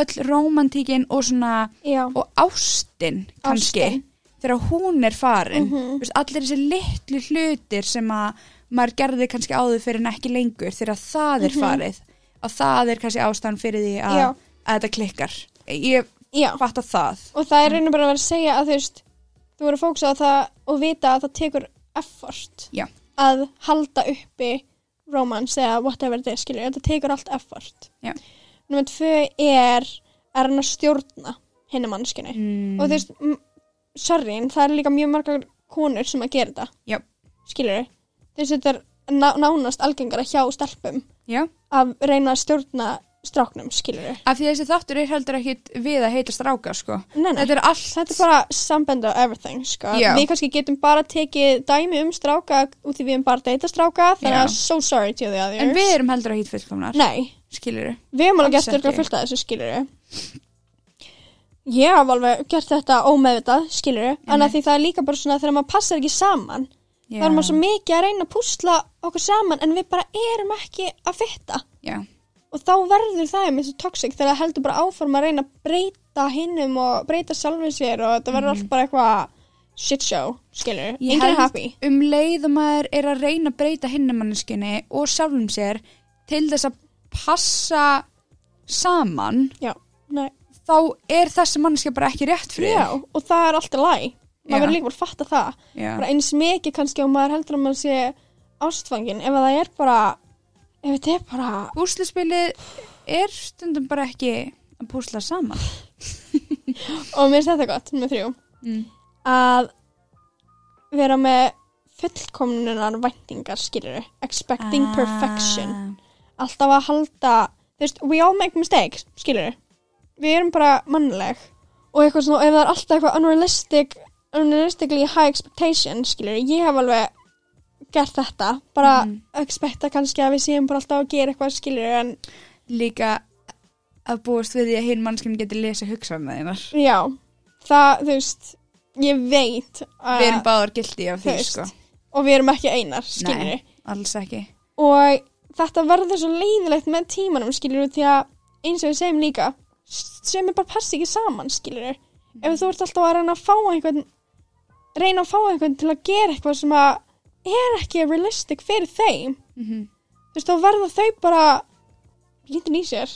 öll romantíkin og svona Já, og ástin kannski Ástin. Mhm. þegar hún er farin mm veist, allir þessi litlu hlutir sem að maður gerði kannski áður fyrir en ekki lengur þegar það er farið og það er kannski ástæðan fyrir því að, Mhm. Já. að þetta klikkar ég Já. fatt að það Og það er reynir bara að vera að segja að þú veist, þú voru að fókusa á það og vita að það tekur effort Já. að halda uppi romance eða whatever it is, skilur, þetta tekur allt effort. Já. Númer tvö er að reyna að stjórna henni mannskinni. mm. Og þú veist, m- sorry, en það er líka mjög margar konur sem að gera þetta, já, skilur þau. Þess að þetta er ná- nánast algengara hjá stelpum já. að reyna að stjórna stráknum, skilur þau. af því að þessi þáttur er heldur ekkit við að heita stráka sko. Nei, nei. þetta er allt Þetta er bara sambend og everything, sko. Já. Við kannski getum bara tekið dæmi um stráka út því við erum bara að deyta stráka, þannig Já. að so sorry to the others. en við erum heldur ekkit fullkomnar Nei, skilur þau við erum alveg Alls gert örgulega ekki. fullt af þessu, skilur Ég hef alveg gert þetta ómeðvitað, skilur Mhm. við. En að því það er líka bara svona þegar maður passar ekki saman, þá er maður svo mikið að reyna að púsla okkur saman en við bara erum ekki að fitta. já, Og þá verður það með þessu toxic þegar það heldur bara áfram að reyna að breyta hinnum og breyta sjálfum sér og þetta verður allt bara eitthvað shit show, skilur. Mhm. Ég Enginn held- er happy. um leið og maður er að reyna að breyta hinnumanniskinni og sjálfum sér til þess að passa saman Já, nei. þá er þessi mannskja bara ekki rétt fyrir Já, og það er alltaf læg. Já. Maður verður líka bara að fatta það. Já. Bara eins mikið kannski og maður heldur að maður sé ástfangin ef að það er bara, ef þetta er bara, Úsliðspilið er stundum bara ekki að púsla saman og mér finnst þetta gott, með þrjú, mm. að vera með fullkomnunar væntingar, skilur. Ah. Expecting perfection. alltaf að halda þú veist, we all make mistakes, skilur við erum bara mannleg og eitthvað svona, ef það er alltaf eitthvað unrealistic unrealistically high expectation skilur, ég hef alveg gert þetta, bara Mhm. expecta kannski að við séum bara alltaf að gera eitthvað skilur en Líka að búast við því að hinn mannskinn geti lesa hugsanlega þínar já, það, þú veist ég veit að, Við erum báðar gildi af því Ah. Þú veist, sko og við erum ekki einar, skilur Nei, alls ekki og þetta verður svo leiðilegt með tímanum skilur því að eins og við segjum líka sem er bara passi ekki saman skilur Mhm. ef þú ert alltaf að reyna að fá einhvern reyna að fá einhvern til að gera eitthvað sem að er ekki realistic fyrir þeim mm þú veist þá verða þau bara lítin í sér,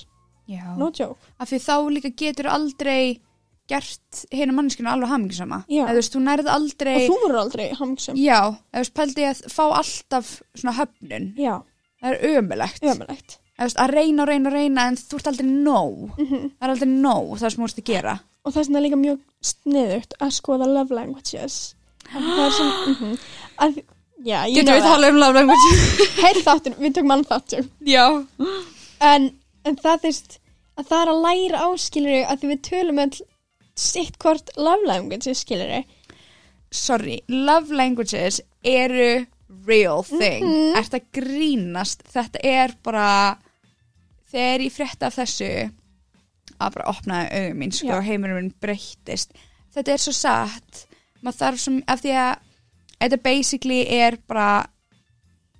Já no joke af því þá líka getur aldrei gert hérna manneskinu alveg hamingisama Já. eða þú veist, þú nærið aldrei og þú verður aldrei hamsum já, eða þú veist, pældi ég að fá alltaf svona höfnun, já, það er ömulegt eða ömulegt þú veist, að reyna og reyna og reyna en þú ert aldrei nóg það er aldrei nóg það sem þú ert að gera og það er svona líka mjög sniðugt að skoða love languages En það er svona mm -hmm. að, já, ég getur við talað um love language heyrðu þáttur, við tökum mann þáttur já, en, en það þurft að það er að læra áskilur að því við tölum all sitt hvort love language skilur sorry love languages eru real Mhm. thing ert að grínast þetta er bara þegar ég frétta af þessu að bara opnaði auðum mín sko, Já. og heimurinn minn breyttist þetta er svo satt maður þarf sem, af því að þetta basically er bara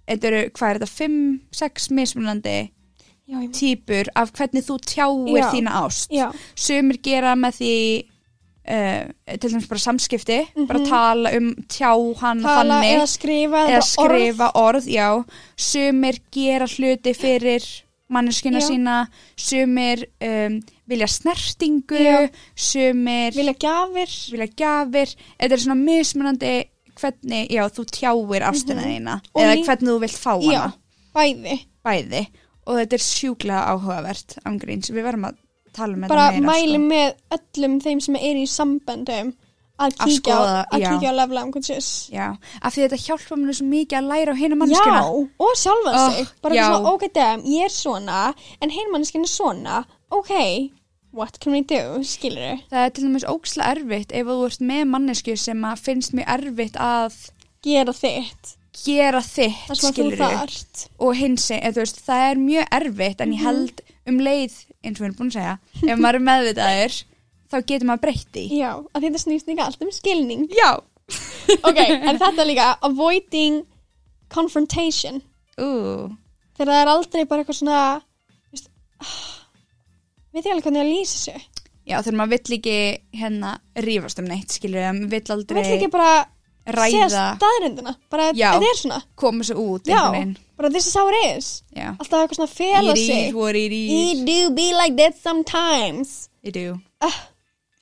þetta eru, hvað er þetta, 5, 6 mismunandi já, ég meina- típur af hvernig þú tjáir Mhm. Já. þína ást já, sumir gera með því uh, til dæmis bara samskipti bara tala um, tjá hann Mhm. tala þannig, eða skrifa eða bara skrifa orð. já, sumir gera hluti fyrir manneskina Já. sína sumir um, vilja snertingu Já. sumir vilja gjafir vilja gjafir þetta er svona mismunandi hvernig, já, þú tjáir ástina þína Mhm. Og eða lí- hvernig þú vilt fá já, hana bæði, bæði og þetta er sjúklega áhugavert ángríns, við verðum að tala um þetta bara meira, mæli sko. með öllum þeim sem er í samböndum að Að kíkja á, skoða, að já. kíkja á love languages Já, af því þetta hjálpa mér svo mikið að læra á hina Já, mannskina. og sjálfan Oh, sig bara já. svona, ok, damn, ég er svona en heilmannskinn er svona ok, what can we do, skilur Það er til dæmis óksla erfitt ef þú ert með mannesku sem að finnst mér erfitt að gera þitt gera þitt, það sem að þú skilurðu. þart og hins, eða þú veist, það er mjög erfitt Mhm. en ég held um leið, eins og við erum búin að segja, ef maður er meðvitaður, þá getur maður breytti. Já, að þetta snýst líka allt um skilning Já. Ok, en þetta líka avoiding confrontation Ú, þegar það er aldrei bara eitthvað svona þú veist, ah, veit ég alveg hvernig að lýsa þessu Já, þegar maður vill ekki hérna rífast um neitt, skilur við, maður vill Þú aldrei vill ekki bara ræða, segja staðrindina bara Já. þetta er svona koma sér út Já, einhvern veginn. bara this is how it is Já. alltaf eitthvað svona fela It is sig what it is. It do be like that sometimes It do.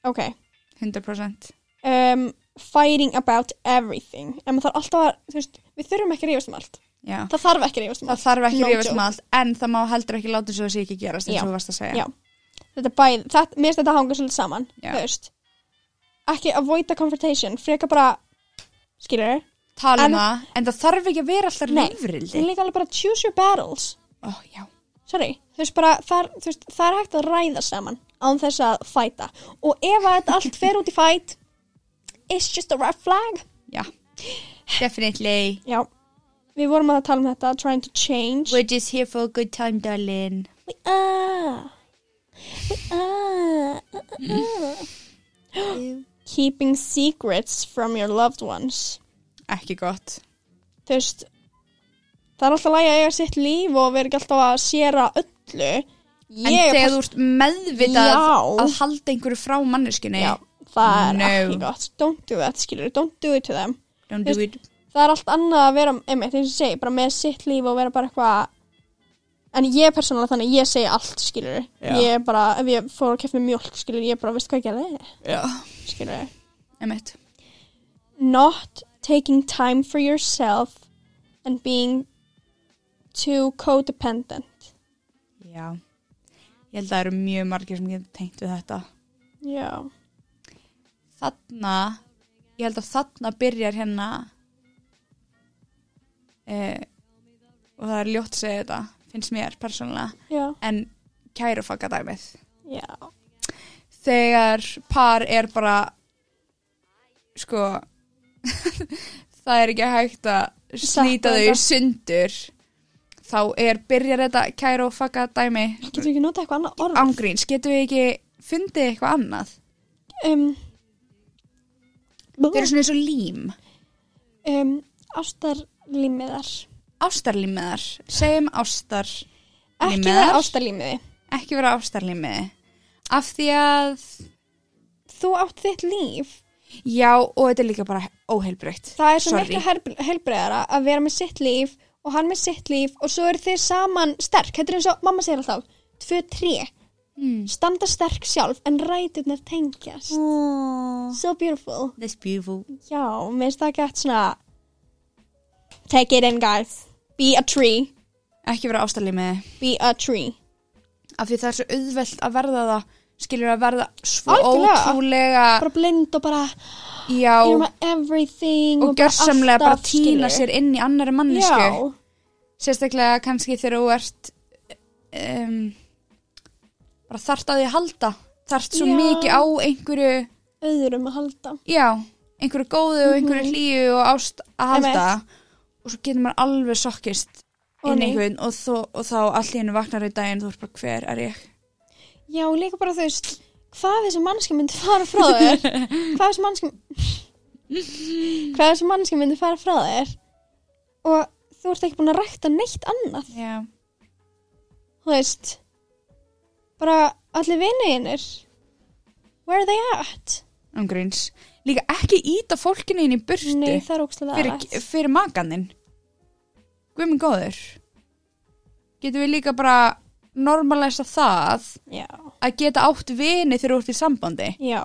ok 100%. um, fighting about everything en maður þarf alltaf að, þú veist, við þurfum ekki að rífast um allt Já. það þarf ekki að rífast um Það allt þarf ekki No að rífast joke. um allt, en það má heldur ekki láta svo að sé ekki gerast eins Já. og þú varst að segja. Já. þetta bæð, það, mér finnst þetta hanga svolítið saman Já. þú veist ekki avoid the confrontation, frekar bara skilur þér, Tala um En- það, en það þarf ekki að vera alltaf Nei. lífrildi. en líka alveg bara choose your battles Ó, já. sorry, þú veist bara það, er- þú veist, það er hægt að ræða saman án þess að fæta og ef að þetta allt fer út í fæt it's just a red flag Já. Definitely. já, við vorum að tala um þetta trying to change We're just here for a good time, darling. We are. We are. Uh, uh, uh. Keeping secrets from your loved ones. Ekki gott. Þú veist, það er alltaf lægi að eiga sitt líf og vera ekki alltaf að séra öllu. En þegar þú ert meðvitað Já. að halda einhverju frá manneskunni, Já, það er No. ekki gott. Don't do that, skilur. Don't do it to them. don't Þú do it. það er allt annað að vera einmitt, eins og ég segi, bara með sitt líf og vera bara eitthvað en ég er persónulega þannig, ég segi allt, skilur Já. ég er bara, ef ég fór að kefna mjólk skilur, ég bara, veist hvað ég gerði, Já. skilur Emmett. not taking time for yourself and being too codependent Já. Ég held að það eru mjög margir sem getur tengt við þetta. já, Þarna, ég held að þarna byrjar hérna eh, og það er ljótt að segja þetta, finnst mér persónulega, já, en kærufakka dæmið. já þegar par er bara sko það er ekki hægt að slíta Sleppa þau í þetta. sundur þá er byrjar þetta kæru og fagga dæmi getur ekki nota eitthvað annað orð ángríns, getum við ekki fundið eitthvað annað um, þau eru svona eins og lím um, ástarlímiðar ástarlímiðar, segjum ástar ekki Límiðar? vera ástarlímiði ekki vera ástarlímiði af því að þú átt þitt líf já og þetta er líka bara óheilbrygt það er svo miklu helbreyðara að vera með sitt líf og hann með sitt líf og svo eru þið saman sterk þetta er eins og mamma segir alltaf 2-3, Hmm. mm. standa sterk sjálf en ræturnar tengjast so beautiful that's beautiful já, mér finnst það gett svona take it in guys be a tree, ekki vera ástarlímiði be a tree af því það er svo auðvelt að verða það skilur að verða svo Algjörlega. ótrúlega bara blind og bara já, you know everything og gjörsamlega bara alltaf, týna skilurðu. sér inn í annari mannesku já, sérstaklega kannski þegar þú ert um, bara þart að því að halda þart svo Já. mikið á einhverju öðrum að halda já, einhverju góðu og Mhm. einhverju hlýju og ást að halda og svo getur maður alveg sokkist Ó, inn í nei. einhvern og, þó, og þá allt í hennu vaknar í daginn þú ert bara hver er ég Já, og líka bara þú veist, hvað þessi mannski myndi fara frá þér? hvað þessi mannski hvað þessi mannski myndi fara frá þér? Og þú ert ekki búin að rækta neitt annað, já, þú veist. Bara allir vinnuðinir, where are they at? umgríns líka ekki íta fólkinu inn í burtu Nei, það er ógstlega fyrir, fyrir makaninn Guð minn góður getum við líka bara normalæsa það Já, að geta átt vini þegar þú ert í sambandi já.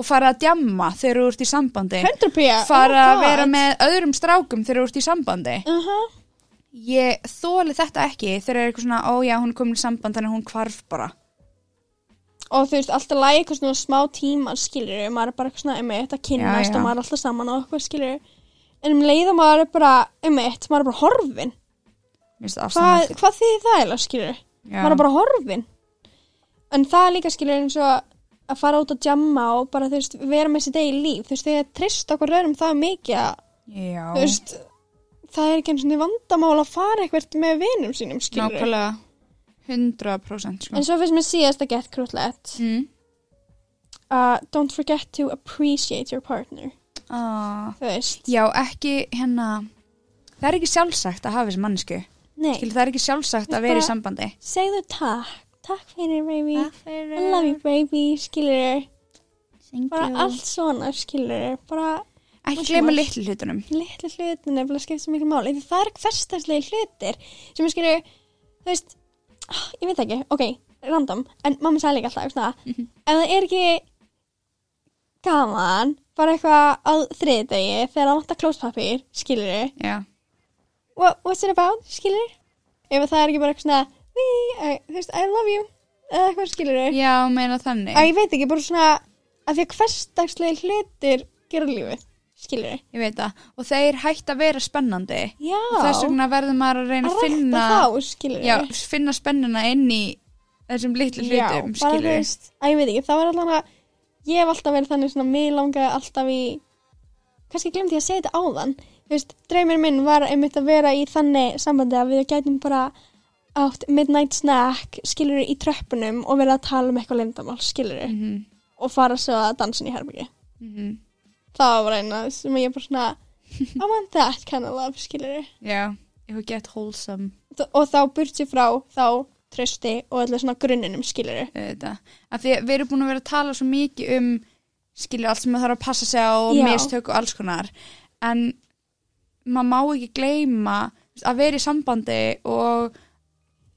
og fara að djamma þegar þú ert í sambandi 100p, fara að vera með öðrum strákum þegar þú ert í sambandi Uh -huh. ég þóli þetta ekki þegar er eitthvað svona, ó já, hún er komin í samband þannig að hún hvarf bara Og þú veist, alltaf lægi eitthvað svona smá tíma skilur við, maður er bara eitthvað svona einmitt að kynnast Já, já. og maður er alltaf saman og eitthvað skilur við. En um leiða maður er bara einmitt, maður er bara horfin. Mér finnst það hvað, afsannað. hvað þýðir það eiginlega skilur Já. maður er bara horfin en það er líka skilur eins og að fara út að jamma og bara þú veist vera með þessi degi líf, þú veist þegar trist okkur rörum það mikið að, Já. þú veist það er ekki eins og vandamál að fara eitthvað með vinum sínum skilur nákvæmlega 100% sko. en svo finnst mér síðast að get krútlegt mm. uh, don't forget to appreciate your partner ah. þú veist, Já, ekki hérna Það er ekki sjálfsagt að hafa þessi mannsku nei, Skil, Það er ekki sjálfsagt að vera í sambandi segðu takk takk fyrir baby, I love you baby, skilur bara allt svona, skilur bara Ekki gleyma litlu hlutunum. litlu hlutin nefnilega skiptir svo miklu máli því það er hverstagslega hlutir sem ég skilur, þú veist ah, ég veit ekki, ok, random en mamma sagði líka alltaf, svona ef það er ekki gaman bara eitthvað á þriðdegi þegar það vantar klóspapir, skilur Já. What, what's it about, skilur ef það er ekki bara eitthvað svona "Wee, I- þú veist, I love you eða eitthvað skilur Já, meina þannig. að ég veit ekki, bara svona að því að hverstagslega hlutir gera lífið, skilur Ég veit það. Og þeir hætt að vera spennandi. Já, Og þess vegna verður maður að reyna að að finna, rækta þá, skilur já, finna spennuna inn í þessum litlu hlutum, Já, bara þú skilur. veist, að ég veit ekki, það var allan að ég hef alltaf verið þannig svona, mig langaði alltaf í kannski glemdi ég að segja þetta áðan þú veist, dreymir minn var einmitt að vera í þannig sambandi að við gætum bara átt midnight snack skilur í tröppunum og verið að tala um eitthvað lindamál, skilur Mm -hmm. og fara svo að dansin í herbyggi Mm -hmm. það var bara eina sem ég bara svona I want that kind of love, skilur Já, it would get wholesome og þá burt sér frá þá trösti og allir svona grunninum, skilur auðvitað. Af því að við erum búin að vera að tala svo mikið um skilja allt sem maður þarf að passa sig á og Já. mistök og alls konar. En maður má ekki gleyma þú veist, að vera í sambandi og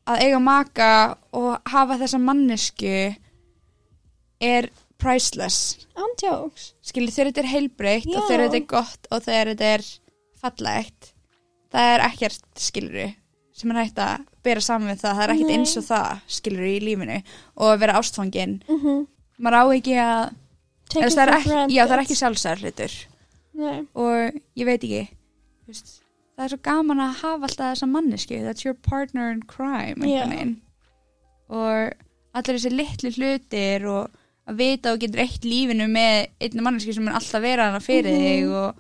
að eiga maka og hafa þessa mannesku er priceless. Andjóks Skilja þegar þetta er heilbreytt Já. og þegar þetta er gott og þegar þetta er fallegt. Það er ekkert skiluru sem er hægt að bera saman við það. Það er ekkert Nei. eins og það skiluru í lífinu og að vera ástfangin mm -hmm. maður á ekki að Take eða, it það, er for ekki, granted. já, það er ekki sjálfsæðar hlutur Nei, og ég veit ekki þú veist, það er svo gaman að hafa alltaf þessa mannesku that's your partner in Já. crime einhvern veginn. og allir þessi litlu hlutir og að vita og getur eitt lífinu með einu mannesku sem er alltaf vera hana fyrir þig og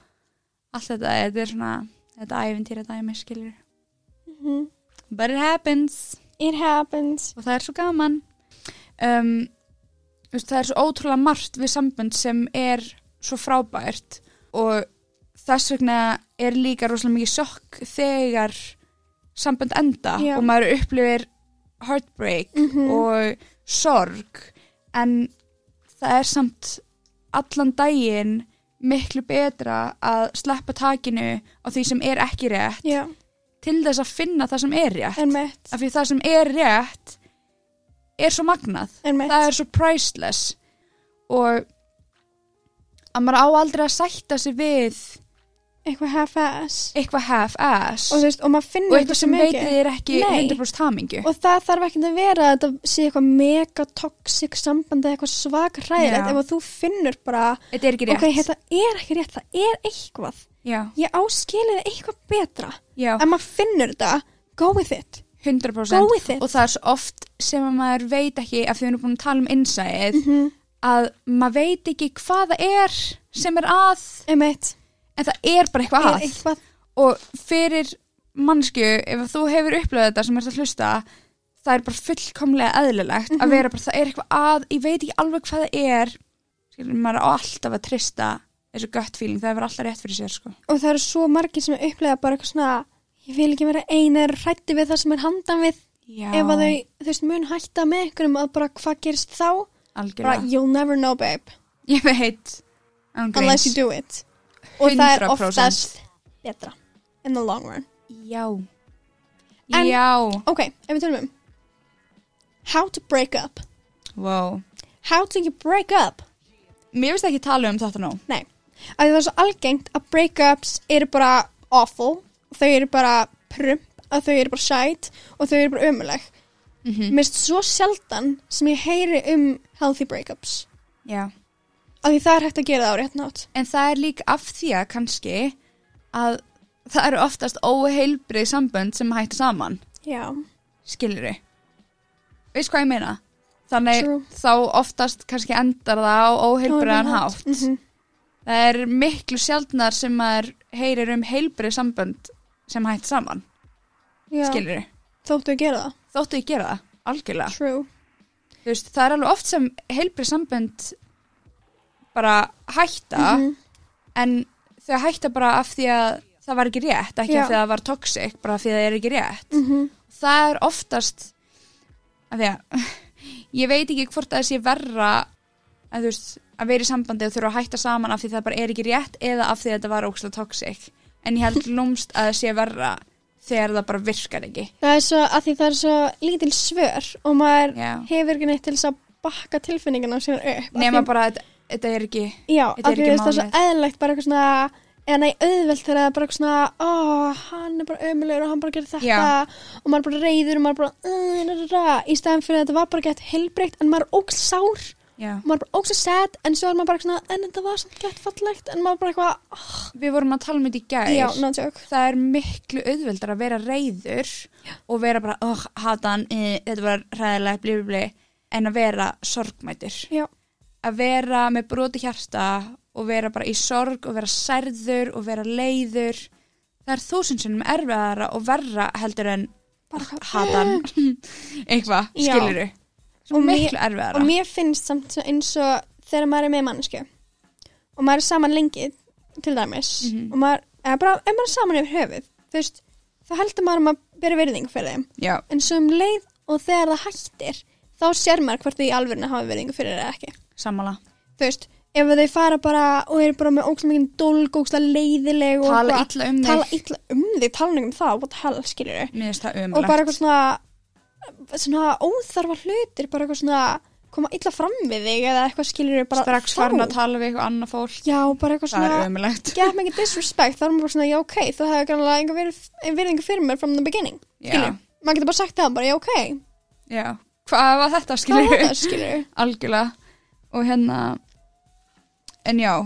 allt þetta, þetta er svona þetta æfintýra dæmi skilur mhm. but it happens It happens og það er svo gaman um, þú veist, það er svo ótrúlega margt við sambönd sem er svo frábært og þess vegna er líka rosalega mikið sjokk þegar sambönd enda Já. og maður upplifir heartbreak Mhm. og sorg en það er samt allan daginn miklu betra að sleppa takinu á því sem er ekki rétt Já, til þess að finna það sem er rétt en mitt af því það sem er rétt er svo magnað En mitt það er svo priceless og að maður á aldrei að sætta sig við Eitthvað half-ass eitthvað half-ass Og þú veist, og maður og finnur eitthvað sem veitir þér ekki Nei. 100% hamingu Og það þarf ekki að vera að þetta sé eitthvað mega toxic sambandi eða eitthvað svak Já. hræðilegt ef að þú finnur bara þetta er ekki rétt ok, hérna- þetta er ekki rétt, það er eitthvað já, ég áskilið eitthvað betra já, en maður finnur þetta, go with it 100% Um, go with it og það er svo oft sem að maður veit ekki af því við erum búin að tala um innsæð Mhm. að maður veit ekki hvað það er sem er að Einmitt. en það er bara eitthvað er að eitthvað og fyrir mannsku ef að þú hefur upplöðið þetta sem ert að hlusta það er bara fullkomlega eðlilegt að vera bara, það er eitthvað að ég veit ekki alveg hvað það er Skilur, maður á alltaf að trista þessu gött feeling, það er alltaf rétt fyrir sér sko. og það eru svo margir sem upplega bara eitthvað svona ég vil ekki vera eina er hrætti við það sem er handan við Já, ef að þau, þú veist, mun hætta með einhverjum að bara hvað gerist þá bara, algjörlega you'll never know babe ég veit, án unless you gríns. do it og það er 100%. oftast betra in the long run já En- já, ok, ef við tölum um how to break up wow how do you break up mér finnst ekki tala um þetta nú nei, af því það er svo algengt að breakups eru bara awful þau eru bara prump að þau eru bara sæt og þau eru bara ömuleg mm Mér finnst svo sjaldan sem ég heyri um healthy breakups. já Af því það er hægt að gera það á rétt nátt. en það er líka af því að kannski að það eru oftast óheilbrið sambönd sem hættu saman Já. skilur við veist hvað ég meina þannig True. þá oftast kannski endar það á óheilbriðan hátt Mm -hmm. það er miklu sjaldnar sem maður heyrir um heilbrið sambönd sem hættu saman Já. skilur Ah. við Þóttu að gera það. þóttu ég gera það, algjörlega True. Þú veist, það er alveg oft sem heilbrið sambönd bara hætta Mhm. en þau hætta bara af því að það var ekki rétt, ekki Já. Mhm. af því að það var toxic bara af því að það er ekki rétt Mm -hmm. það er oftast af því að ég veit ekki hvort að það sé verra að, þú veist, að vera í sambandi og þurfa að hætta saman af því það bara er ekki rétt eða af því að þetta var ókslega toxic en ég held lúmst að það sé verra þegar það bara virkar ekki Það er svo, að því það er svo lítil svör og maður Já. hefur ekki neitt til þess að bakka tilfinningina sér upp. nema Af því- bara að þetta- þetta er ekki Já, þetta af er því þú ekki veist það er svo málið. eðlilegt bara eitthvað svona, eða nei, auðvelt þegar það er bara eitthvað svona, ó, hann er bara ömulegur og hann bara gerir þetta Já. og maður er bara reyður og maður er bara, uh, ra, ra, ra, í stæðan fyrir að þetta var bara gett heilbreykt en maður er ógst sár, Já. maður er bara ógst sad en svo er maður bara svona, en þetta var samt gett fallegt en maður bara eitthvað, oh, við vorum að tala um þetta í gær já, no joke. það er miklu auðveldar að vera reyður og vera bara, oh, hata hann eh, þetta var ræðilegt, blí, blí, blí en að vera sorgmætur Já, að vera með broti hjarta og vera bara í sorg og vera særður og vera leiður það er þúsundsunum erfiðara og verra heldur en bara eitthvað. hata hann eitthvað, Já. skilur Og og mér- miklu erfiðara og mér finnst samt svo eins og þegar maður er með mannsku og maður er saman lengi til dæmis Mhm. og maður, eða bara ef maður er saman yfir höfuð þú veist, þá heldur maður um að maður bera virðing fyrir þeim, já, en svo um leið og þegar það hættir, þá sér maður hvort þau í alvörinu hafa virðingu fyrir þeir eða ekki sammála þú veist, ef þau fara bara og eru bara með ógstlega mikið dólg, ógstlega leiðileg og tala eitthvað- illa um tala þig illa um þig, tala neitt um það what the hell, skilur þau mér finnst það og bara ömulegt eitthvað svona svona óþarfa hlutir bara eitthvað svona koma illa fram við þig eða eitthvað skilur bara strax þá. farin að tala við eitthvað annað fólk já, bara eitthvað það er svona ömulegt gef mikið disrespect, þá er maður bara svona já ok þú hefur grannlega enga virð- virðingu fyrir mér from the beginning, skilur já, maður getur bara sagt það bara já ok, já, hvað var þetta hvað skilur var það skilur algjörlega og hérna en já,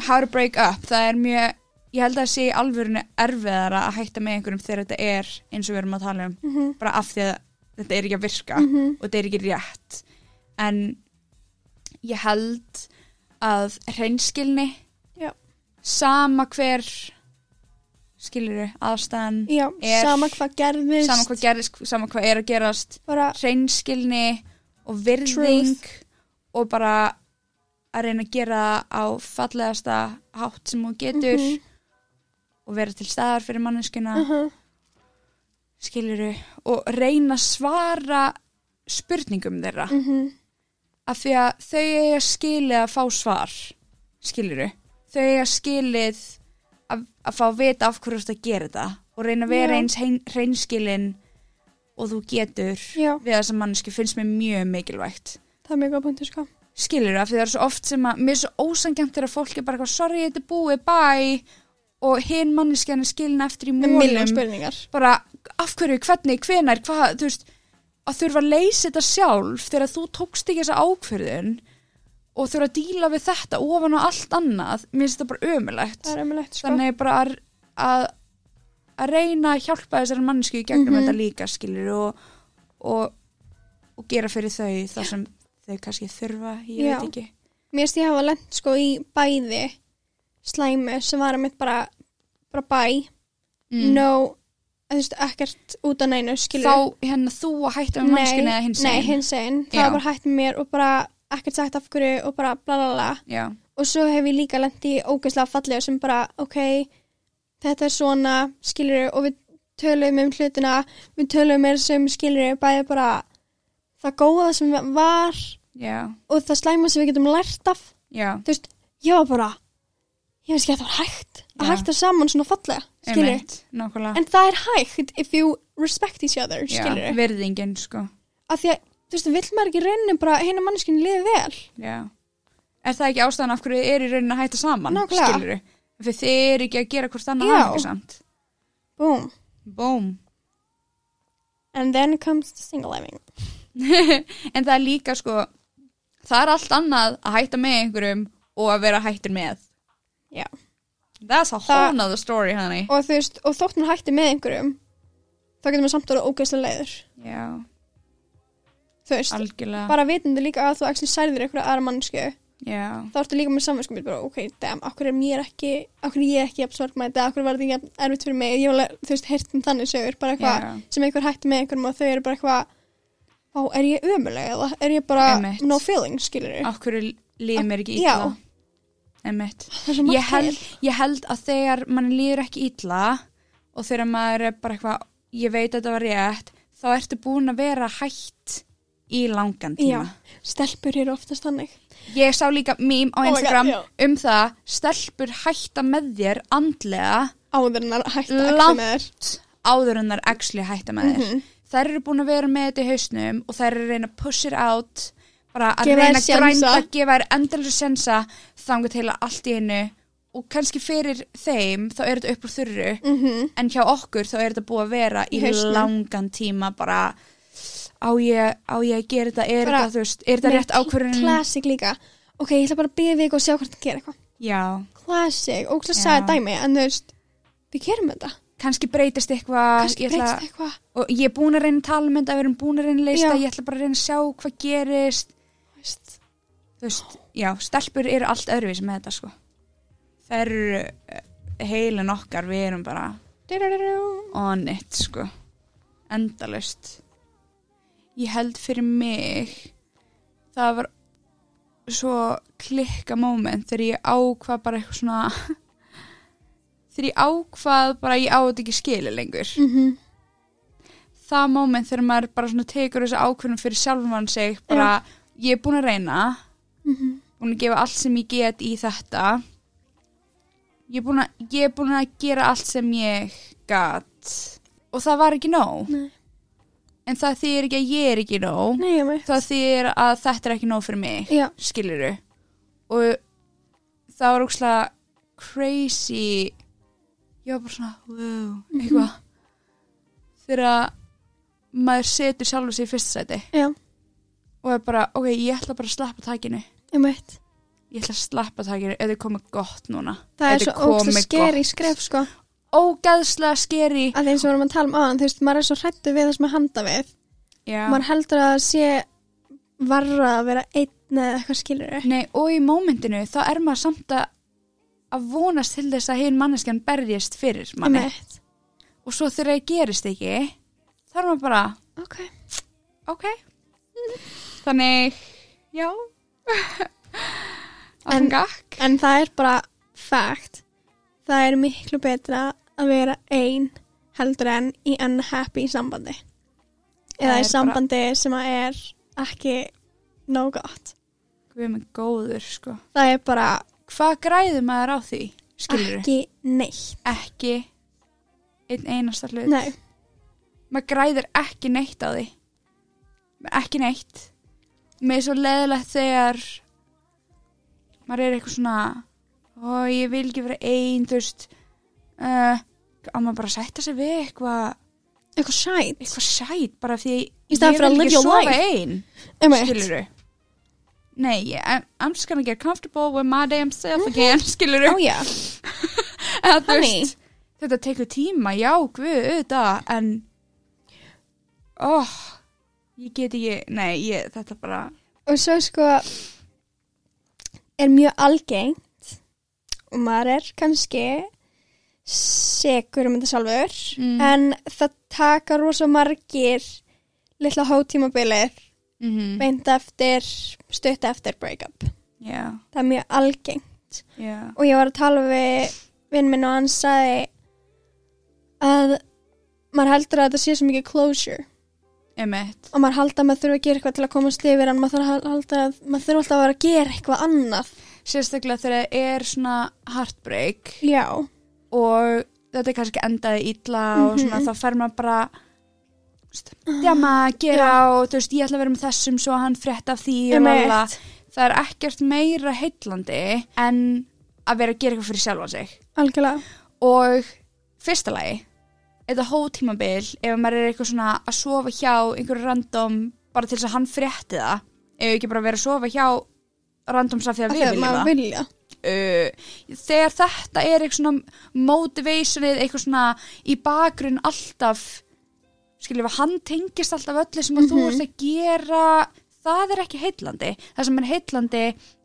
how to break up það er mjög, ég held að það sé í alvörinu erfiðara að hætta með einhverjum þegar þetta er eins og við erum að tala um Mhm. bara af því að þetta er ekki að virka Mhm. og þetta er ekki rétt en ég held að hreinskilni Já. sama hver skilur aðstæðan já, Er- sama hvað gerðist sama hvað gerðist, sama hvað er að gerast bara, hreinskilni og virðing og bara að reyna að gera það á fallegasta hátt sem þú getur Mhm. og vera til staðar fyrir manneskuna uh -huh, skiluru og reyna að svara spurningum þeirra uh -huh, af því að þau eiga skilið að fá svar skiluru þau eiga skilið að, að fá að vita af hverju þú ert að gera þetta og reyna að vera Já. eins hein, hreinskilin og þú getur já, við þessa mannesku finnst mér mjög mikilvægt það er mjög góð punktur sko skilur það, því það er svo oft sem að mér er svo ósangjönd þegar fólk er bara eitthvað sorry, þetta er búið, bye og hinn manneskjan er skilin eftir í með miljón mólum spurningar bara af hverju, hvernig, hvenær hvað, þú veist, að þurfa að leysa þetta sjálf þegar þú tókst ekki þessa ákverðun og þurfa að díla við þetta ofan á allt annað mér finnst þetta bara ömulegt það er ömulegt sko þannig bara að, að, að reyna að hjálpa þessari mannsku í gegnum Mhm. þetta líka skilur og, og, og gera fyrir þau það sem þau kannski þurfa, ég Já. veit ekki Mér finnst ég hafa lent sko í bæði slæmi sem var að mitt bara, bara bæ, Mm. no, þú veist, ekkert út af neinu, skilur. þá hérna þú að hætta með mannskunni eða hins Nei, einn? hins einn. Það Já. var bara hægt með mér og bara ekkert sagt af hverju og bara bla bla bla. já, Og svo hef ég líka lent í ógeðslega fallega sem bara, ok, þetta er svona, skilur, og við töluðum um hlutina, við töluðum meira sem skilur, bæði bara það góða sem var já, og það slæma sem við getum lært af. já þú veist, ég var bara ég veist ekki að það var hægt að Já. hægt að saman svona fallega, skilur einmitt, nákvæmlega en það er hægt if you respect each other, Já, skilur virðingin sko af því að, þú veist, vill maður ekki í rauninni bara hennar manneskinu liði vel já. er það ekki ástæðan af hverju þið eru í rauninni að hætta saman Nákvæmlega. skilur fyrir þið eru ekki að gera hvort annað Já. hamingjusamt. boom, búm and then comes the single living en það er líka sko það er allt annað að hætta með einhverjum og að vera hættur með Já. that's a Það- whole nother story honey og þú veist, og þótt maður hætti með einhverjum þá getur maður samt orðið ógeðslega leiður já, þú veist, algjörlega bara vitandi líka að þú actually særðir einhverja aðra mannsku já, þá ertu líka með samvinskum bara, ok, damn, okkur er mér ekki okkur er ég ekki jafn sorgmæti, okkur var þetta ekki jafn erfitt fyrir mig, ég var alveg, þú veist, heyrt um þannig sögur, bara eitthvað, já, sem einhver hætti með einhverjum og þau eru bara eitthvað á, er ég ömuleg eða er ég bara Einmitt. no feeling, skilur þau? af hverju líður mér ekki Já. ítla emitt ég held, ég held að þegar mann líður ekki ítla og þegar maður er bara eitthvað ég veit að þetta var rétt þá ertu búin að vera hætt í langan Já, tíma. stelpur eru oftast þannig. Ég sá líka mím á Oh my God, Instagram já. um það stelpur hætta með þér andlega Áður en að hætta að Langt ekta með þér. áður en þær actually hætta með þér. Mhm. Þær eru búin að vera með þetta í hausnum og þær eru að reyna að push it out, bara að Gefa þér reyna að grænda, sénsa. gefa þær endalur sensa þangu til að allt í einu og kannski fyrir þeim þá er þetta upp úr þurru Mm en hjá okkur þá er þetta búið að vera í Í hausnum. langan tíma bara á ég, á ég að gera þetta, er Bara þetta, þú veist, er þetta rétt ákvörðun? Classic líka. Ok, ég ætla bara að byggja við ykkur og sjá hvort það gerir eitthvað. Já, Classic, ógst að Já. sagði dæmi, en þú veist, við gerum þetta. kannski breytist eitthvað, Kanski ég ætla- breytist eitthvað. og ég er búin að reyna að tala um þetta, við erum búin að reyna að leysa, Já. ég ætla bara að reyna að sjá hvað gerist, þú veist. þú veist, já, stelpur eru allt öðruvísi með þetta, sko. Það eru eh, heilin okkar, við erum bara Dyrururú. on it, sko. Endalust. Ég held fyrir mig, það var svo klikka moment þegar ég ákvað bara eitthvað svona, þegar ég ákvað bara ég á þetta ekki skilu lengur. Mhm. það moment þegar maður bara svona tekur þessu ákvörðum fyrir sjálfan sig bara ég er búin að reyna Mhm. búin að gefa allt sem ég get í þetta ég er búin að, ég er búin að gera allt sem ég gat og það var ekki nóg Nei. en það þýðir ekki að ég er ekki nóg Nei, ég meitt. það þýðir að þetta er ekki nóg fyrir mig Já. skiliru og það var ókslega crazy ég var bara svona wow, Mhm. eitthvað þegar að maður setur sjálfur sig í fyrsta sæti Já, og er bara, ok, ég ætla bara að slappa takinu ég meitt. ég ætla að slappa takinu, þetta er komið gott núna Það er Þetta svo ógst að komið skeri gott. skref, sko. ógeðslega skeri Að þeim sem við erum að tala um aðan, þú veist, maður er svo hrættu við það sem maður handa við. Já. Maður heldur að það sé varra að vera einn eða eitthvað skilur. Nei, og í mómentinu þá er maður samt að að vonast til þess að hinn manneskjan berjist fyrir Ég manni meitt. og svo þegar það gerist ekki þá er maður bara, Ok. ok þannig, já En- allan gakk En það er bara fact. Það er miklu betra að vera einn heldur en í unhappy sambandi. Það Eða í er bara- sambandi sem að er ekki nóg gott. við erum góður, sko Það er bara hvað græðum maður á því, skilur ekki neitt. ekki einn einasta hlut Nei, maður græðir ekki neitt á því ekki neitt mér er svo leðilegt þegar maður er eitthvað svona ó ég vil ekki vera einn þú veist uh, að maður bara sætta sig við eitthvað eitthvað sætt. eitthvað sæt bara því Í staðinn fyrir að live your sofa life. einn Einmitt. skiluru nei, ég- I'm, I'm just gonna get comfortable with my damn self again Ó skiluru já, Mhm. Oh, Eða, þú honey. veist, þetta tekur tíma, já, guð, auðvitað, en oh, ég get ekki, nei, ég, þetta bara Og svo sko er mjög algengt og maður er kannski segur um þetta sjálfur Mm. en það taka rosa margir litla hótímabilið mm -hmm. beint eftir, stutt eftir breakup. já, Það er mjög algengt já, og ég var að tala við vinn minn og hann sagði að maður heldur að þetta sé svo mikið closure emitt og maður halda að maður þurfa að gera eitthvað til að komast yfir en maður þarf að halda að maður þurfa alltaf að vera að gera eitthvað annað sérstaklega þegar það er svona heartbreak já, og þetta er kannski endaði illa og svona Mhm. þá fer maður bara djama, gera og þú veist, ég ætla að vera með þessum svo hann frétt af því og Einmitt. lala. það er ekkert meira heillandi en að vera að gera eitthvað fyrir sjálfa sig algjörlega og fyrsta lagi þetta hótímabil ef maður er eitthvað svona að sofa hjá einhverju random bara til þess að hann frétti það ef ekki bara að vera að sofa hjá random sá þegar að við þegar viljum maður það vilja uh, þegar þetta er eitthvað svona motivationið eitthvað svona í bakgrunn alltaf skiljum að hann tengist alltaf öllu sem að þú Mhm. ert að gera það er ekki heillandi það sem er heillandi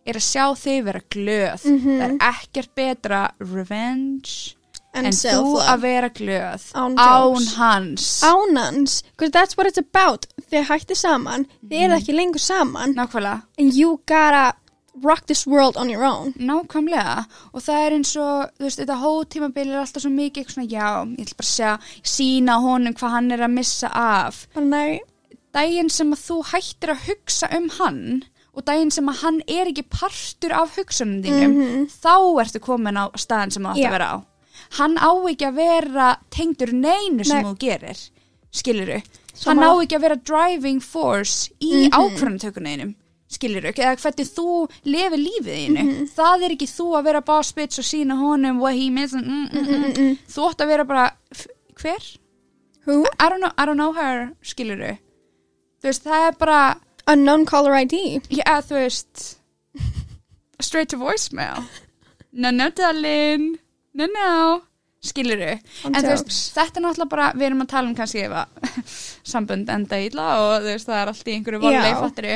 er að sjá þig vera glöð Mhm. það er ekkert betra revenge en, en þú að self-love vera glöð Án án jokes. hans ánans, because that's what it's about þið hætti saman, þið mm. ekki lengur saman nákvæmlega, and you gotta rock this world on your own nákvæmlega og það er eins og, þú veist, þetta hótímabil er alltaf svo mikið eitthvað svona, já, ég ætla bara að sjá sína honum hvað hann er að missa af bara nei, daginn sem að þú hættir að hugsa um hann og daginn sem að hann er ekki partur af hugsunum þínum þá ertu komin á staðin sem það átt Já. að vera á hann á ekki að vera tengdur neinu sem Nei. þú gerir skiliru, hann á Sammála. ekki að vera driving force í mm ákvörðantökunum skiliru, eða hvernig þú lefi lífið þínu, það er ekki þú að vera boss bitch og sína honum what he means, mm, mm, mm, mm, þú átt að vera bara, f- hver? Who? I don't know, I don't know her, skiluru þú veist, það er bara Unknown caller ID. já, þú veist straight to voicemail no, no, darling no, no, skiluru en þú veist, jokes. þetta er náttúrulega bara við erum að tala um kannski ef að sambönd enda illa og þú veist, það er allt í einhverju Já. volið, fatturu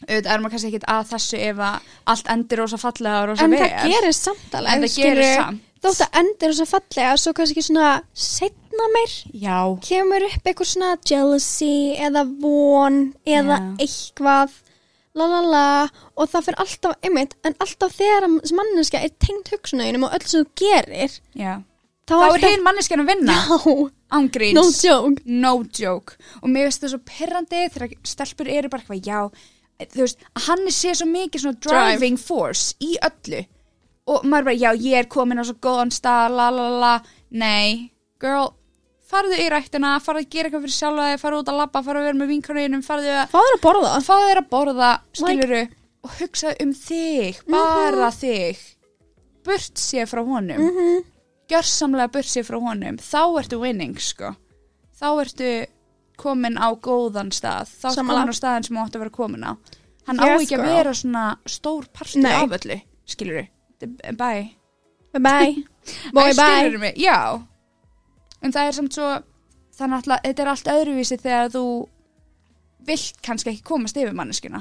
auðvitað erum að kannski ekkit að þessu ef að allt endur rosa fallega og rosa En vel það gerir samt alveg. En það skilur. gerir samt. Þótt að endur þess að fallega, svo kannski svona setna meir já, kemur upp eitthvað svona jealousy eða von eða Já. eitthvað la la la og það fyrir alltaf einmitt en alltaf þegar að manneska er tengd hugsunauðinum og öll sem þú gerir já þá, þá er alltaf- hinn manneskjan að vinna Já, ángríns no joke no joke og mér finnst það svo perrandi þegar stelpur eru bara eitthvað já þú veist, að hann sé svo mikið svona Drive. driving force í öllu og maður bara, já, ég er komin á svo góðan stað, la la la, nei girl, farðu í rættina farðu að gera eitthvað fyrir sjálfa þig, farðu út að labba farðu að vera með vinkonunum, farðu að Fáður að borða fáðu þér að borða, skiluru og hugsaðu um þig, bara þig burt sér frá honum gjörsamlega burt sér frá honum þá ertu winning, sko þá ertu komin á góðan stað þá ertu Sammála. komin á staðin sem þú átt að sko. vera komin á hann á Yes, ekki að girl. vera svona stór partur Nei. af öllu skiluru, bye Bye bye Boy Æ, bye skilurðu mig, já en það er samt svo þannig að þetta er allt öðruvísi þegar þú vilt kannski ekki komast yfir manneskuna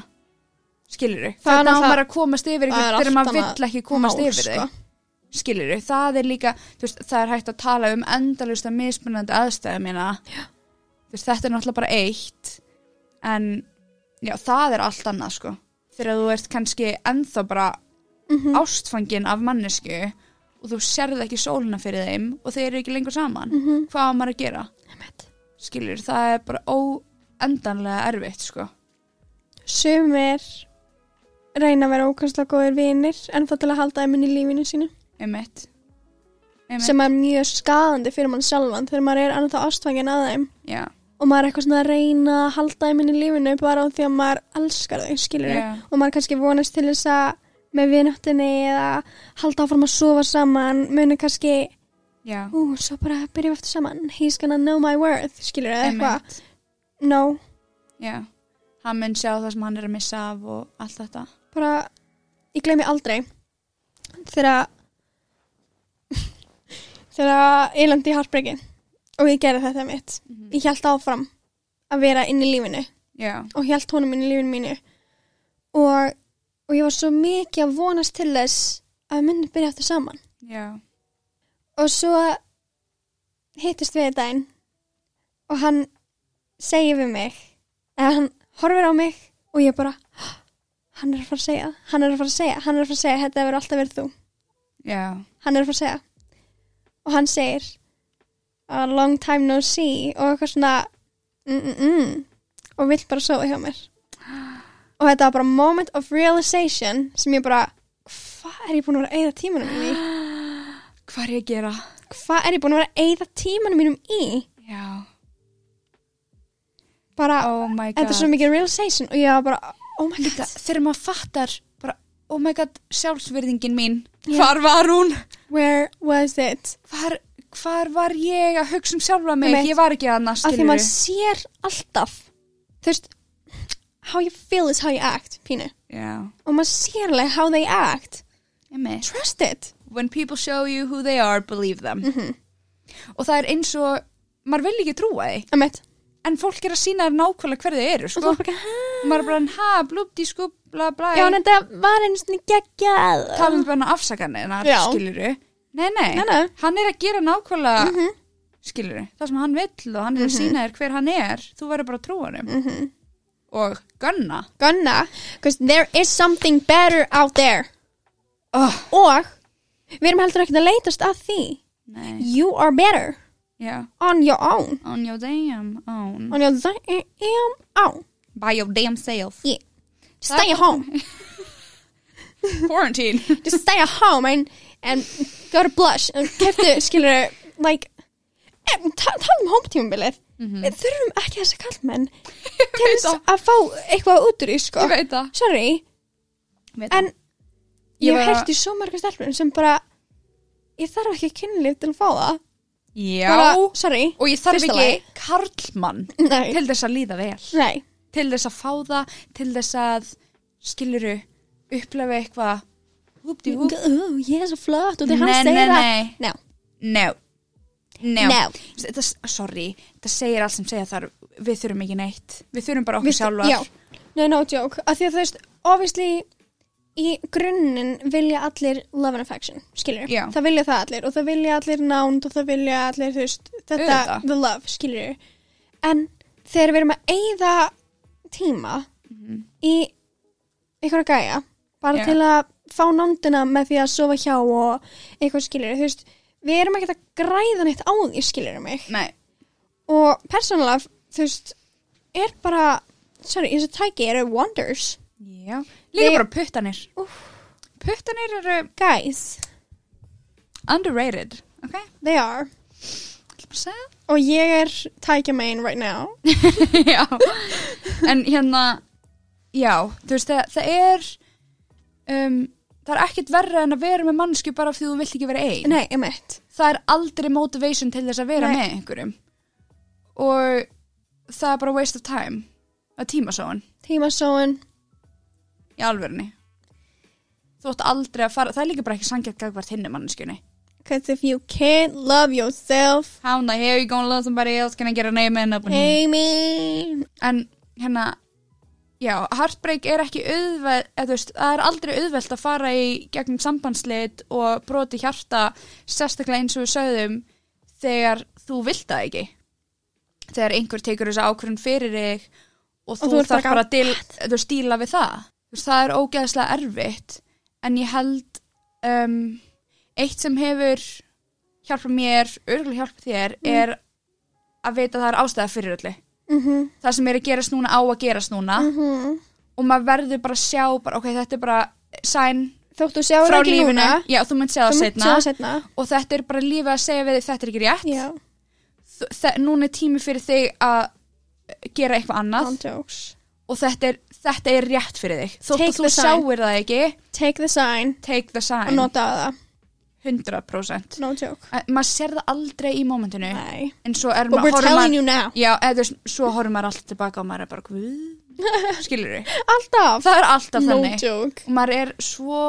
skilur Það er þannig að náttúrulega- maður að komast yfir Það er ykkur þegar maður allt annað vill ekki komast mál, yfir sko. þig skilur það er líka þú veist, það er hægt að tala um endalusta mismunandi aðstæðu mína Þú veist, þetta er náttúrulega bara eitt en já, það er allt annað sko þegar þú ert kannski ennþá bara Mhm. ástfangin af mannesku og þú sérð ekki sólina fyrir þeim og þeir eru ekki lengur saman Mhm. hvað á maður að gera? skilur, það er bara óendanlega erfitt sko Sumir reyna að vera ókvæmstlega góðir vinir en það til að halda þeim inn í lífinu sínu um mitt um sem er mjög skadandi fyrir mann sjálfan þegar maður er annað þá ástfangin að þeim já, og maður er eitthvað svona að reyna að halda þeim inn í lífinu bara á því að maður elskar þau, skilur Já. og maður kannski vonast til þess að með vináttinni eða halda áfram að sofa saman, muni kannski já, ú, svo bara byrjum við aftur saman he's gonna know my worth, skilur eða eitthvað einmitt, no, já hann mun sjá það sem hann er að missa af og allt þetta bara ég gleymi aldrei þegar þegar ég lendi í hartbreki og ég gerði þetta mitt Mhm. ég held áfram að vera inn í lífinu já, og hjælt honum inn í lífinu mínu og, og ég var svo mikið að vonast til þess að við myndum byrja aftur saman já, og svo hittist við í daginn og hann segir við mig eða hann horfir á mig og ég bara hann er að fara að segja, það, hann er að fara að segja hann er að fara að segja, þetta verður alltaf verið þú já hann er að fara að segja og hann segir a long time no see og eitthvað svona mm, mm, mm, og vill bara sofa hjá mér og þetta var bara moment of realization sem ég bara hvað er ég búin að vera að eyða tímanum mínum í hvað er ég að gera? hvað er ég búin að vera að eyða tímanum mínum í já, bara, oh my god þetta er svo mikið realization og ég var bara, oh my god Líka, þegar maður fattar bara, oh my god, sjálfsverðingin mín hvar var hún? where was it Hvar, hvar var ég að hugsa um sjálfa mig? Einmitt. Ég var ekki að annars, að því skilur maður sér alltaf þú veist how you feel is how you act, pínu Já, og maður sér alveg how they act emmi. trust it When people show you who they are, believe them. Og það er eins og, maður vil ekki trúa því, Emmett. en fólk er að sína þér nákvæmlega hver þið eru, Og sko. þú er bara, hæ? Maður er bara, ha, blúbdi, skú, bla, bla. Já, en þetta var einu svona geggjað. Það er bara afsakanina, Já. skiluru. Nei, nei, Nei, Mhm. nei. hann er að gera nákvæmlega, mm skiluru, það sem hann vill og hann er að Mhm. sína þér hver hann er, þú verður bara að trúa hann Og gunna. Gunna, because there is something better out there. Oh, Og við erum heldur ekkert að leitast að því. nei. You are better. Já, On your own. on your damn own. On your damn own. By your damn self. Yeah. Just stay at home. Quarantine. just stay at home and, and go to blush og keftu, skilur like, em, ta tala um hómtímabilið við þurfum ekki þessi kallmenn til þess það. að fá eitthvað út úr í sko Ég veit það. sorry, Veit en það. Ég ég hef bara- heyrt í svo margar stelpur sem bara ég þarf ekki kynlíf til að fá það Já. bara, sorry, og ég þarf Fyrsta ekki lagi. karlmann nei, til þess að líða vel. nei Til þess að fá það, til þess að skiluru, upplefa eitthvað. Húpti húp. Ú, ég er svo flott og því Nei, hann segir nei, það nei. no, No. No. No. Þetta, sorry, þetta segir allt sem segja þar, við þurfum ekki neitt. Við þurfum bara okkur Við- sjálfar. já, no, no joke af því að þú veist, obviously í grunninn vilja allir love and affection, skilur Já. það vilja það allir og það vilja allir nánd og það vilja allir, þú veist, þetta Auðvitað. the love, skilur en þegar við erum að eyða tíma í einhverja gæja bara Já. til að fá nándina með því að sofa hjá og eitthvað skilur, þú veist við erum ekki að græða neitt á því, skilur mig Nei. og persónulega, þú veist er bara, sorry, þessi tæki eru wonders, Já. Líka Við- bara puttanir. Puttanir eru guys underrated. Ok. they are, Ætla bara að segja það. og ég er tækja main right now, já, en hérna já, þú veist það, það er um, það er ekkit verra en að vera með mannsku bara af því þú vilt ekki vera ein nei, ég mitt það er aldrei motivation til þess að vera Nei. með einhverjum og það er bara waste of time að tíma svo hann tímasóin, í alvörunni þú ætti aldrei að fara, það er líka bara ekki sangjart gagvart hinni mannskunni cause if you can't love yourself how the hell you gonna love somebody else can I get a name and up Amy en hérna já, heartbreak er ekki auðveld eða, þú veist, það er aldrei auðvelt að fara í gegnum sambandslit og broti hjarta sérstaklega eins og við sögðum þegar þú vilt það ekki þegar einhver tekur þessa ákvörðin fyrir þig og þú, þú ert þarf bara bara að dil, þú veist, díla við það Þú veist, það er ógeðslega erfitt en ég held um, eitt sem hefur hjálpað mér, örgulega hjálpað þér Mm. er að vita að það er ástæða fyrir öllu mhm, það sem er að gerast núna á að gerast núna mhm og maður verður bara að sjá bara, ok, þetta er bara sæn þóttu sjáur frá ekki lífinu, núna já, þú munt sjá þú það munt setna sjá setna og þetta er bara lífið að segja við þig þetta er ekki rétt já, Þ- þe- núna er tími fyrir þig að gera eitthvað annað non jokes og þetta er, þetta er rétt fyrir þig þótt Take að þú the sign. sjáir það ekki take the sign take the og sign, nota það, 100% no joke Að- maður sér það aldrei í momentinu nei, en svo er but maður we're horfir telling maður you now já, eða þú veist, svo horfir maður alltaf tilbaka og maður er bara, guð skilur þig, alltaf, það er alltaf no þannig joke og maður er svo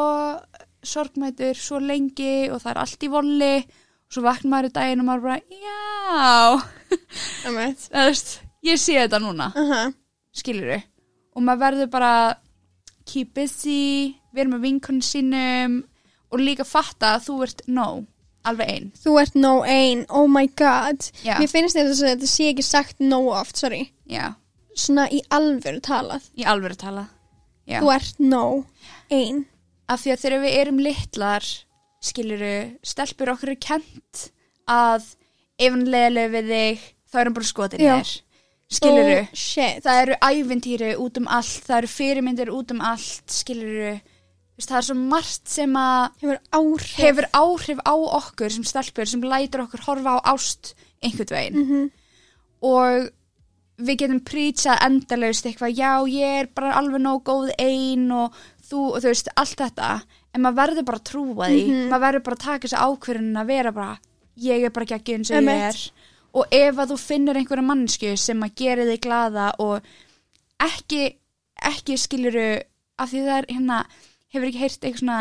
sorgmætur svo lengi og það er allt í volli og svo vaknar maður í daginn og maður bara já, ég mitt það veist ég sé þetta núna, Aha, skilur þau og maður verður bara keep busy, vera með vinkunum sínum og líka fatta að þú ert nóg, alveg einn Þú ert no ein, oh my god Já. Mér finnst þetta að þetta sé ekki sagt no oft, sorry já, Svona í alvöru talað í alveg að tala já. Þú ert no ein af því að þegar við erum litlar skiluru, stelpur okkur er kent að ef hann leiðilegu við þig þá er hann bara skotin í Já. þér skiluru, oh, Shit það eru ævintýri út um allt, það eru fyrirmyndir út um allt skiluru, það er svo margt sem að Hefur áhrif hefur áhrif á okkur sem stelpur sem lætur okkur horfa á ást einhvern veginn Mhm. og við getum prýtsað endalaust eitthvað, já ég er bara alveg nóg góð ein og þú, og þú veist, allt þetta en maður verður bara að trúa því Mhm. maður verður bara að taka þessi ákvörðin að vera bara ég er bara ekki ekki eins og ég Einmitt. er og ef að þú finnur einhverja mannsku sem að gera þig glada og ekki, ekki skiluru af því það er hérna hefur ekki heyrt eitthvað svona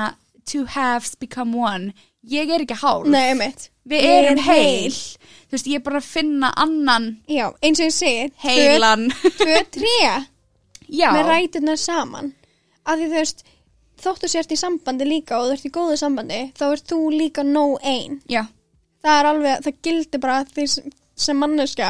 two halves become one ég er ekki hálf Nei, mitt við Ég erum er heil. heil. þú veist, ég er bara að finna annan Já, eins og ég segi tvö- heilan Tvö, tré já, Með ræturnar saman Af því þú veist Þóttu sért í sambandi líka og þú ert í góðu sambandi þá ert þú líka no ein já, Það er alveg, það gildi bara því sem- sem manneska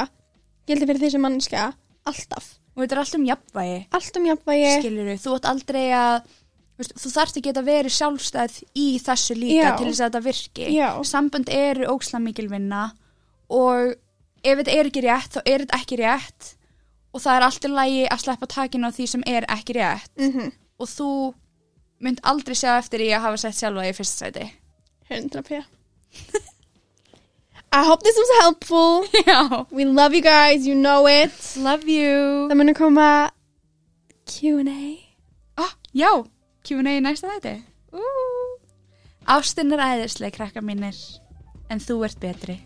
gildi fyrir því sem manneska alltaf, og þetta er allt um jafnvægi allt um jafnvægi skilur þú átt aldrei að þú veist, þú þarft að geta verið sjálfstæð í þessu líka Já. til þess að þetta virki Já. sambönd eru óksla mikil vinna og ef þetta er ekki rétt þá er þetta ekki rétt og það er allt í lagi að sleppa takinu á því sem er ekki rétt mm og þú mynd aldrei sjá eftir í að hafa sett sjálfa í fyrsta sæti 100p I hope this was helpful Já We love you guys, you know it Love you Það muni koma Q&A oh, Já, Q&A í næsta þætti uh. Ástin er æðisleg, krakka mínir En þú ert betri